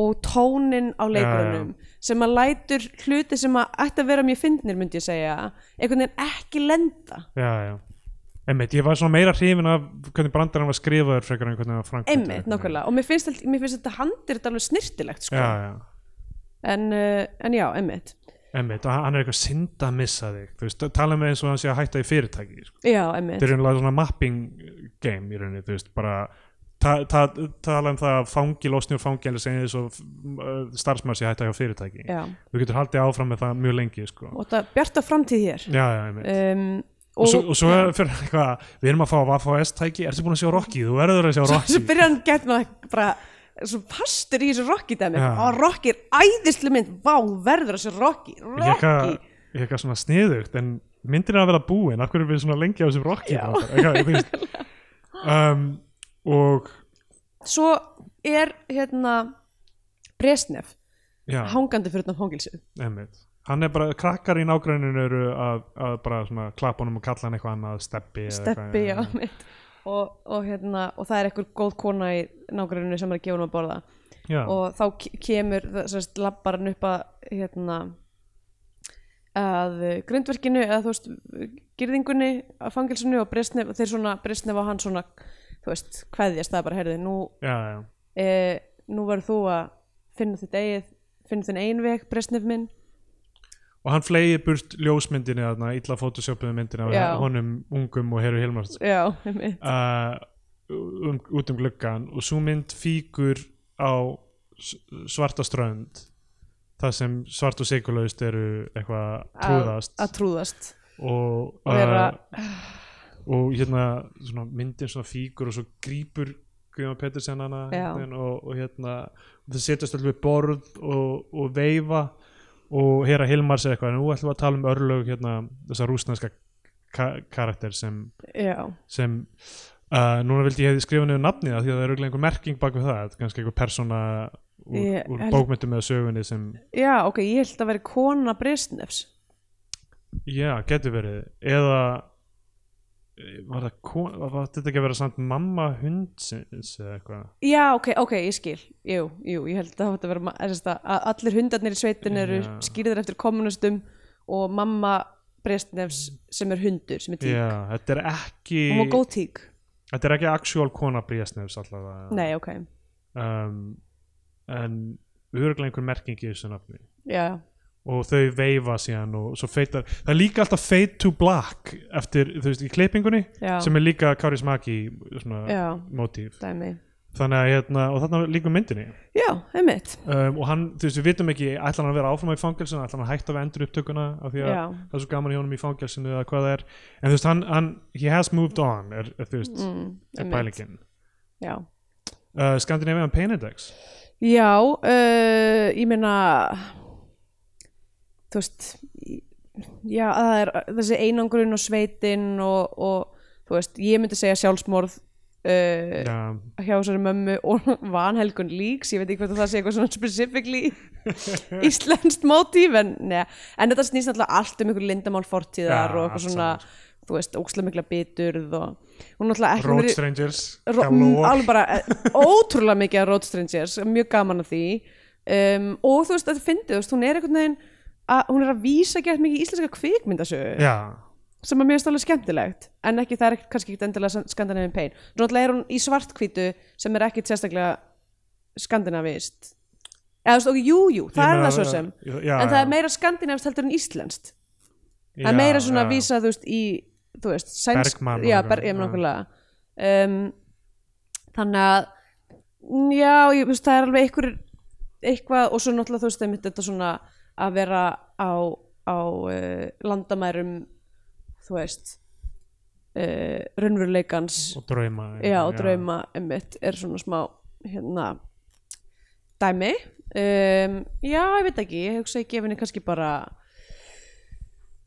og tónin á leikurunum sem að lætur hluti sem að ætti að vera mjög fyndnir, myndi ég segja einhvern veginn ekki lenda já, já. Einmitt, ég var svona meira hrifin af hvernig brandarinn var skrifaður frekar en hvernig hann var framkvæmdur. einmitt, nákvæmlega, og mér finnst, þetta- mér finnst þetta handir þetta alveg snirtilegt, sko já, já. En, uh, en já, einmitt Einmitt, og hann er eitthvað synd að missa þig þú veist, tala með eins og hann sé að hætta í fyrirtæki sko. Já, einmitt þetta er einhverjum svona mapping game í rauninni, þú veist, bara ta ta tala um það að fangi losni úr fangi eða segja þess að eh, starfsmaður sé að hætta hjá fyrirtæki Já, þú getur haldið áfram með það mjög lengi sko. og þetta bjarta framtíð hér já, já, einmitt um, og, svo, og svo fyrir eitthvað, við erum að fá VHS tæki, ertu búin að sjá Rocky, þú verður að sjá Rocky svo byrjar hann gett með að bara svo fastur í þessu Rocky dæmi Já. og Rocky er æðislu mynd, vá, hún verður þessu Rocky, ég eitthvað, Rocky ég eitthvað svona sniðugt en myndin er að vera búin, af hverju erum við svona lengi á þessum Rocky bara? eitthvað, þú veist. um, og Svo er hérna Bresnef já, hangandi fyrir þetta fangilsu einmitt hann er bara, krakkar í nágræninu eru að, að bara svona klappa honum og kalla hann eitthvað annað steppi, eða steppi á eitthvað, mitt og, og, hérna, og það er einhver góð kona í nágruninu sem er að gefa hún að borða já, og þá ke- kemur sérst, labbar hann upp að hérna að grindverkinu eða þú veist girðingunni að fangilsinu og bristnef og þeir svona bristnef á hann svona þú veist, kveðjast það er bara, heyrðu, nú já, já, e, nú verður þú að finna þitt eigið finna þinn eigin veg, bristnef minn og hann fleigi burt ljósmyndinni þarna, illa fótosjópuðu myndinni Já. af honum ungum og heru Hilmars já, einmitt. uh, um, út um gluggan og svo mynd fíkur á s- svarta strönd það sem svart og sigurlaust eru eitthvað trúðast að trúðast og, og vera, uh, og hérna svona, myndin svona fíkur og svo grípur Guðjón Pettersen hana Já. einhvern veginn og, og hérna þau setjast allir við borð og, og veifa og hera Hilmar segir eitthvað nú ætlum við að tala um örlög hérna, þessa rúsneska ka karakter sem já, sem uh, núna vildi ég hefði skrifað niður nafnið af því að það er auðvitað einhver merking bak við það þetta er kannski einhver persóna úr, Ég- úr held- bókmyndum eða sögunni sem já, ok, ég held að vera kona bristnefs já, getur verið eða eh, var það kon- var var þetta ekki að vera samt mamma hundsins eða eitthvað Já, ok, ok, ég skil Jú, jú, ég held að það átti að vera ma- sem sagt að að allir hundarnir í sveitin eru Já. skýrðir eftir kommunistum og mamma Brestnefs sem er hundur, sem er tík já, þetta er ekki Hún var góð tík þetta er ekki actual kona Bríasnefs allavega Nei, ok, um, en örgulega einhver merking í þessu nafni já, og þau veifa síðan og svo feitar það er líka alltaf fade to black eftir, þú veist, í klippingunni já, sem er líka Kári Smaki svona já, mótíf dæmi þannig að hérna, og þarna líka myndinni Já, einmitt, um, og hann, þú veist, við vitum ekki ætlar hann að vera áfram í fangelsin, ætlar hann að hætta við endur upptökuna af því að já, það er svo gaman í honum í fangelsinu eða hvað það er, en þú veist, hann, hann he has moved on, er, er þú veist mm, er einmitt pælingin Já, uh, Scandinavian Pain Index já uh, ég meina þú veist í- já, það er þessi einangrun og sveitin og, og þú veist, ég myndi segja sjálfsmorð uh, já, hjá þessari mömmu og vanhelgun líks, ég veit ekki hvort að það sé eitthvað svona specifically íslenskt mótíf en, neða, en þetta snýst alltaf allt um ykkur lindamál Já, fortíðar og eitthvað allt svona, þú veist, ókslega mikla biturð og hún alltaf ekki Road Strangers Ro- m, galore. alveg bara eh, ótrúlega mikið af Road Strangers, mjög gaman af því um, og þú veist, þetta fyndið þú veist, hún er einhvern veginn að hún er að vísa gett mikið í íslenska kvikmyndasögu já, sem að mér finnst alveg skemmtilegt en ekki það er ekkert- kannski ekkert endilega skandinavin pain náttúrulega er hún í svartkvítu sem er ekkert sérstaklega skandinavist eða þú veist, ok, jú, jú, það Ég er meina, það svo sem já, já, en það er meira skandinavist heldur en íslenskt það já, er meira svona já. að vísa, þú veist, í þú veist, sænsk, Bergman og já, eitthvað, ber, ég já. nákvæmlega um, þannig að mm, já, ég, þú veist, það er alveg einhver eitthvað og svo náttúrulega þú veist einmitt þetta svona að vera á, á uh, landamærum þú veist uh, raunveruleikans og drauma já, og drauma einmitt er svona smá hérna dæmi um, já, ég veit ekki, ég hugsa ég gef henni kannski bara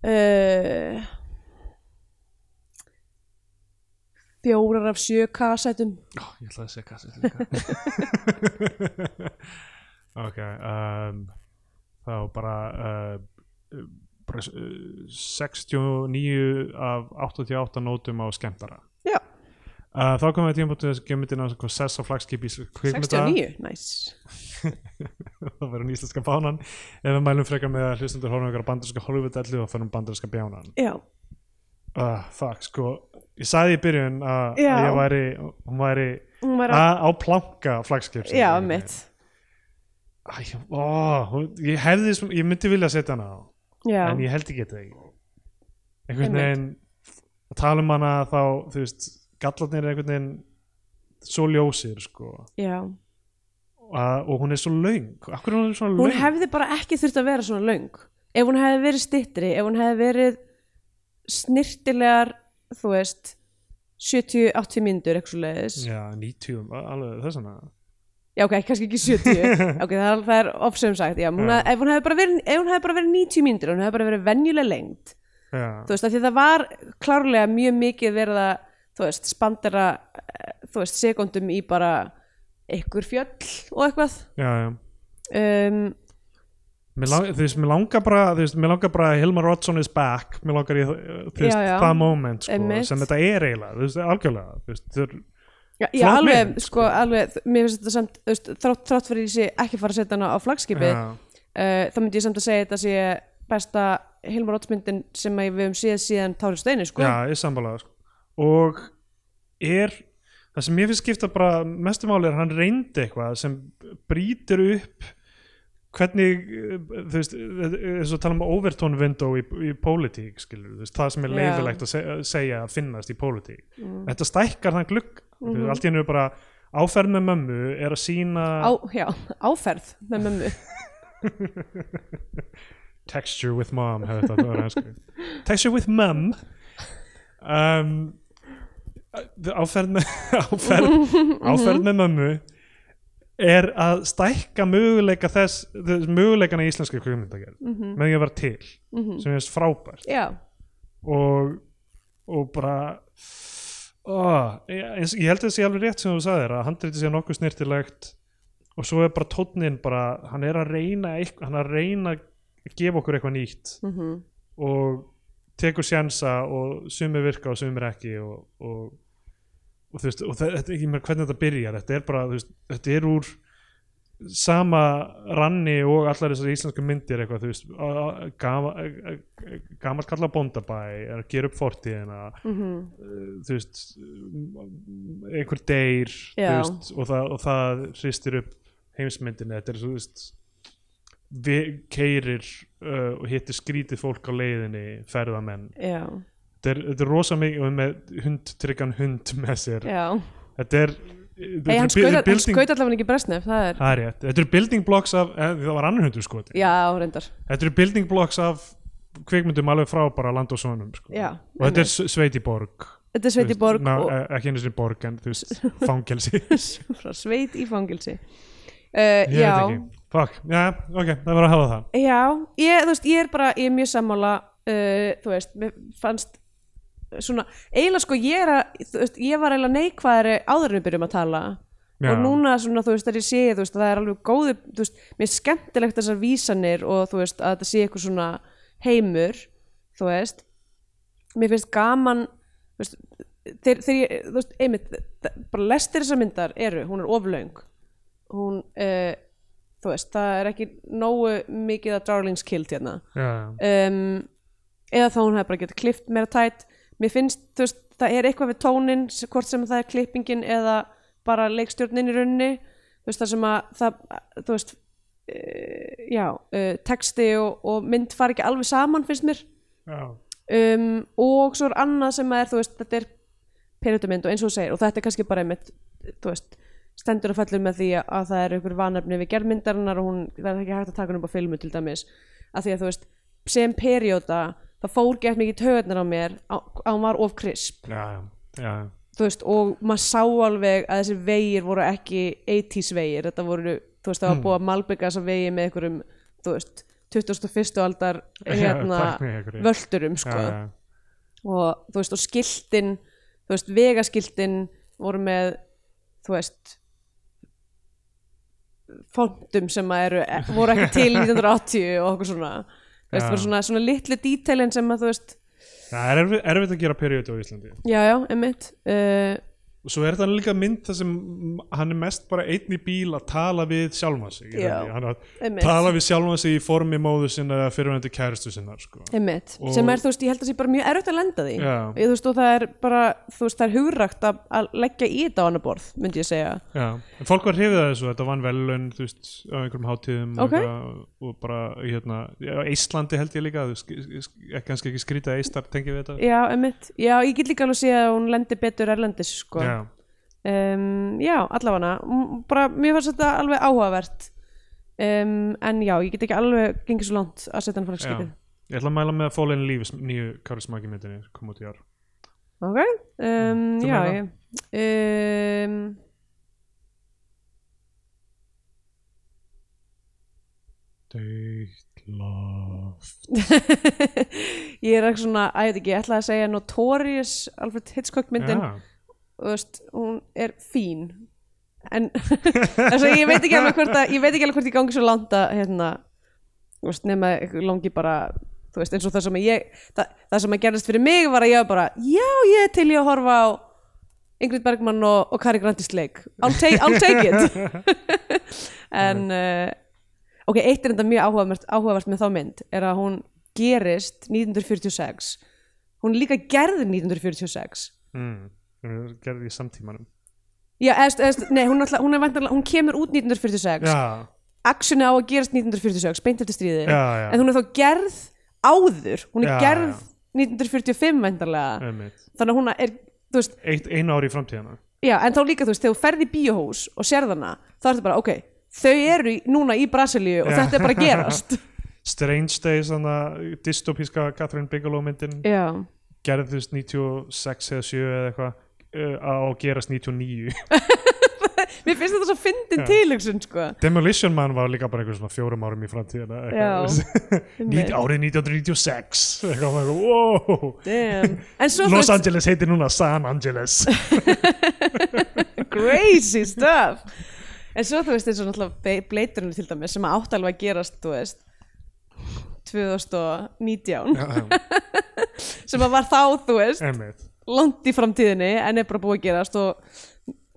uh, fjórar af sjö kassætum Ó, ég ætlaði að segja kassið líka ok um, þá bara uh, bara uh, 69 af 88 nótum á skemmtara já, uh, þá komum við að tímabútið þess að gemyndina hvað sess á flagskipi 69, næs það verður íslenska fánan ef við mælum frekar með að hlustundur horfum ykkur bandarinska holvudellu og fyrir bandarinska bjánan já, uh, fuck sko ég sagði í byrjun að Já. að ég væri hún væri hún var að að, á planka flagskip já, mitt Æ, ó, hún- ég hefði svona, ég myndi vilja setja hana á já, en ég held ekki þetta ekki einhvern Einmitt. veginn að tala um hana þá, þú veist gallarnir er einhvern veginn svo ljósir sko já að, og hún er svo löng akkur er hún svona hún löng hefði bara ekki þurft að vera svona löng ef hún hefði verið stittri ef hún hefði verið snirtilegar þú veist 70-80 mínútur eitthvað leðis já. já, 90, a- alveg þess vegna ok, kannski ekki 70 ok, það er, það er ofsöfum sagt já, hún Já. hafði, ef, hún hefði bara verið, ef hún hefði bara verið 90 mínútur hún hefði bara verið venjuleg lengd já, þú veist, af því það var klárlega mjög mikið verið að þú veist, spandera eh, þú veist, sekundum í bara einhver fjöll og eitthvað já, já um, Mér lang, þú veist, mér langar bara, þú veist, mér langar bara að Hilmar Oddsson is back, mér langar í þú veist, Já, já. það moment, sko, Einmitt. sem þetta er eiginlega, þú veist, algjörlega, þú veist, þú er, Já, já Flott alveg, mynd, sko, alveg, mér finnst þetta samt, þú veist, þrátt, þrátt fyrir ég sé ekki fara að setja hana á flagskipið, já, uh, þá myndi ég samt að segja þetta sé besta Hilmar Oddsmyndin sem að við höfum séð síðan Tári Steini, sko. já, ég sambalað, sko, og er, það sem mér finnst skipta bara mestu máli er að hann reyndi eitthvað sem brýtir upp hvernig, eh, þú veist, þess að tala um overtone window í, í pólitík, skilur, þú veist, það sem er Já. leifilegt að se- segja að finnast í pólitík. Mm. Þetta stækkar þann glugg, mm Mhm. -hmm. allt í hennu bara, Áferð með mömmu er að sína Á, já, áferð með mömmu. Texture with mom hefði þetta verið ennsku Texture with mum um, uh, áferð með áferð, áferð með mömmu er að stækka möguleika þess, þess möguleikana í íslenska kvikmyndagerð með því að vera til sem er frábært Já, og, og bara ó, ég, eins, ég held að það sé alveg rétt sem þú sagðir að handriti sé nokkuð snirtilegt og svo er bara tónnin bara, hann er að reyna eitthvað, hann er að reyna að gefa okkur eitthvað nýtt mhm, og tekur sjansa og sumir virka og sumir ekki og, og, og þú veist og þe- þetta, ég meina hvernig þetta byrjar þetta er bara, þú veist, þetta er úr sama ranni og allar þessar íslensku myndir eitthvað, þú veist á- á- gama- á- á- gamall kalla bóndabæ er að gera upp fortíðina uh, þú veist um, einhver deyr þú Já. veist, og, það, og það hristir upp heimsmyndinni þetta er svo þú veist við keirir uh, og hittir skrítið fólk á leiðinni ferðamenn já, þetta er, þetta er rosa mikið og með hund, tryggan hund með sér já þetta er eh, Ei, þetta hann er bu- skaut hann building- skaut allavega ekki bresnef það er, Það er rétt. Þetta eru building blocks af, eh, það var annar hundur sko já, reyndar Þetta eru building blocks af kvikmyndum alveg frá bara land og sonum sko. Já, og þetta er s- sveit í borg þetta er sveit í Þú veist, borg ná, og, eh, ekki einu sinni borg en þú veist, fangelsi frá sveit í fangilsi uh, ég veit já, ekki, fuck, já, ok það var að hafa það já ég, þú veist, ég er bara, ég er mjög sammála uh, þú veist, mér fannst svona, eiginlega sko ég er að þú veist, ég var eiginlega neikvæðari áður en við byrjum að tala Já. og núna svona, þú veist, þar ég sé, þú veist, að það er alveg góði þú veist, mér er skemmtilegt þessar vísanir og þú veist, að þetta sé eitthvað svona heimur, þú veist mér finnst gaman þú veist, þegar, þegar ég, þú veist, einmitt það- bara lestir þessar myndar eru, hún er oflaung hún, uh, þú veist, það er ekki nógu mikið að Darlings Kilt hérna já, um, eða þá hún hefði bara getið klift meira tætt mér finnst, þú veist, það er eitthvað við tónin hvort sem það er klippingin eða bara leikstjórnin í rauninni þú veist, það sem að það, þú veist uh, já, uh, texti og, og mynd fara ekki alveg saman finnst mér já, um, og svo er annað sem er, þú veist, þetta er perutumynd og eins og þú segir og þetta er kannski bara einmitt, þú veist stendur og fellur með því að það er einhver vanefni við gerðmyndarinnar og hún verður ekki hægt að taka hún upp á filmu til dæmis að því að þú veist, sem perióda það fór gett mikið töðnar á mér á- að hún var of krisp já, já, þú veist, og maður sá alveg að þessir vegir voru ekki 80s vegir, þetta voru, þú veist, það Hmm. var búið að malbygga þessa vegi með einhverjum þú veist, 21. aldar Já, hérna, tækni einhverju. völdurum sko já, já. og þú veist og skiltin þú veist vegaskiltin voru með þú veist fondum sem að eru eh, voru ekki til 1980 og okkur svona þú veist Já. bara svona, svona litlu dítelin sem að þú veist það er erfitt, erfitt að gera periodu á Íslandi já já emmitt uh, og svo er þetta líka mynd þar sem hann er mest bara einn í bíl að tala við sjálfan sig í Já, rauninni. hann er að einmitt. tala við sjálfan sig í formi móðu sinna eða fyrirvendu kæristu sinna sko. emmitt Og- sem er þú veist ég held að sé bara mjög erfitt að lenda því Já. ég, þú veist og það er bara þú veist það er hugrakt að, að leggja í þetta á annar borð myndi ég segja Já, en fólk var hrifið að þessu, þetta vann velun þú veist, á einhverjum hátíðum og Ok. eitthvað, og bara, hérna, já, á Íslandi held ég líka, þú sk- sk- ekki- kannski ekki skrýta að Ístar tengi við þetta já emmitt já ég get líka alveg að segja að hún lendir betur erlendis sko Já, um, já, allavega bara mér fannst þetta alveg áhugavert um, en já, ég get ekki alveg gengið svo langt að setja hann fyrir já. skipið Ég ætla að mæla með að Fallen Leaves nýju Kári Smaki myndinni sem kom út í ár ok, um, Mm, þú já meina? ég, um, Deitt loft ég er ekki svona að ég veit ekki, ég ætla að segja Notorious Alfred Hitchcock myndin Já, þú veist, hún er fín en þess að ég veit ekki alveg hvort að, ég veit ekki alveg hvort ég gangi svo langt að hérna, þú veist, nema ykkur langi bara, þú veist, eins og það sem ég það, það sem að gerðist fyrir mig var að ég var bara, já, ég er til ég að horfa á Ingrid Bergman og, og Kari Grandis leik I'll take, I'll take it en uh, ok, eitt er enda mjög áhugavert, áhugavert með þá mynd er að hún gerist 1946 hún er líka gerð 1946 mm, hún gerði í samtímanum Já, eðst, eðst, nei, hún, alltaf, hún, er væntanlega- hún kemur út 1946 Já, Actioni á að gerast 1946, beint eftir stríði Já, já. En hún er þá gerð áður Hún er Já, gerð já. 1945 væntanlega einmitt Þannig að hún er, þú veist Eitt einu ári í framtíðana Já, en þá líka, þú veist, þegar þú ferð í bíóhús og sérð hana, þá ertu bara, ok Þau eru í- núna í Brasilíu og Já. þetta er bara að gerast Strange Days, þannig að dystopíska Catherine Bigelow myndin Já, gerðist 96 eða 7 eða eitthvað uh, á að gerast 99 mér finnst þetta svo fyndin tilhugsun, sko Demolition Man var líka bara einhver svona fjórum árum í framtíðina eitthvað. Ní- árið 1996 eitthvað, maður eitthvað, wow. Damn. En svo, þú Los veist, Angeles heitir núna San Angeles crazy stuff en svo þú veist eins og náttúrulega bleiturinn til dæmis sem átt alveg að gerast þú veist 2019 Já, já. sem að var þá, þú veist Einmitt. langt í framtíðinni en er bara búið að gerast og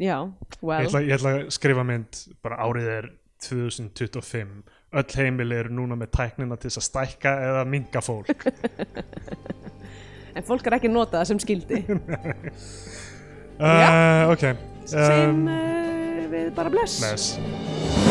já, Ég, well ætla, ég ætla að skrifa mynd bara árið er 2025 öll heimili eru núna með tæknina til þess að stækka eða minga fólk en fólk er ekki notað sem skildi uh, ok sem um, uh, við bara bless bless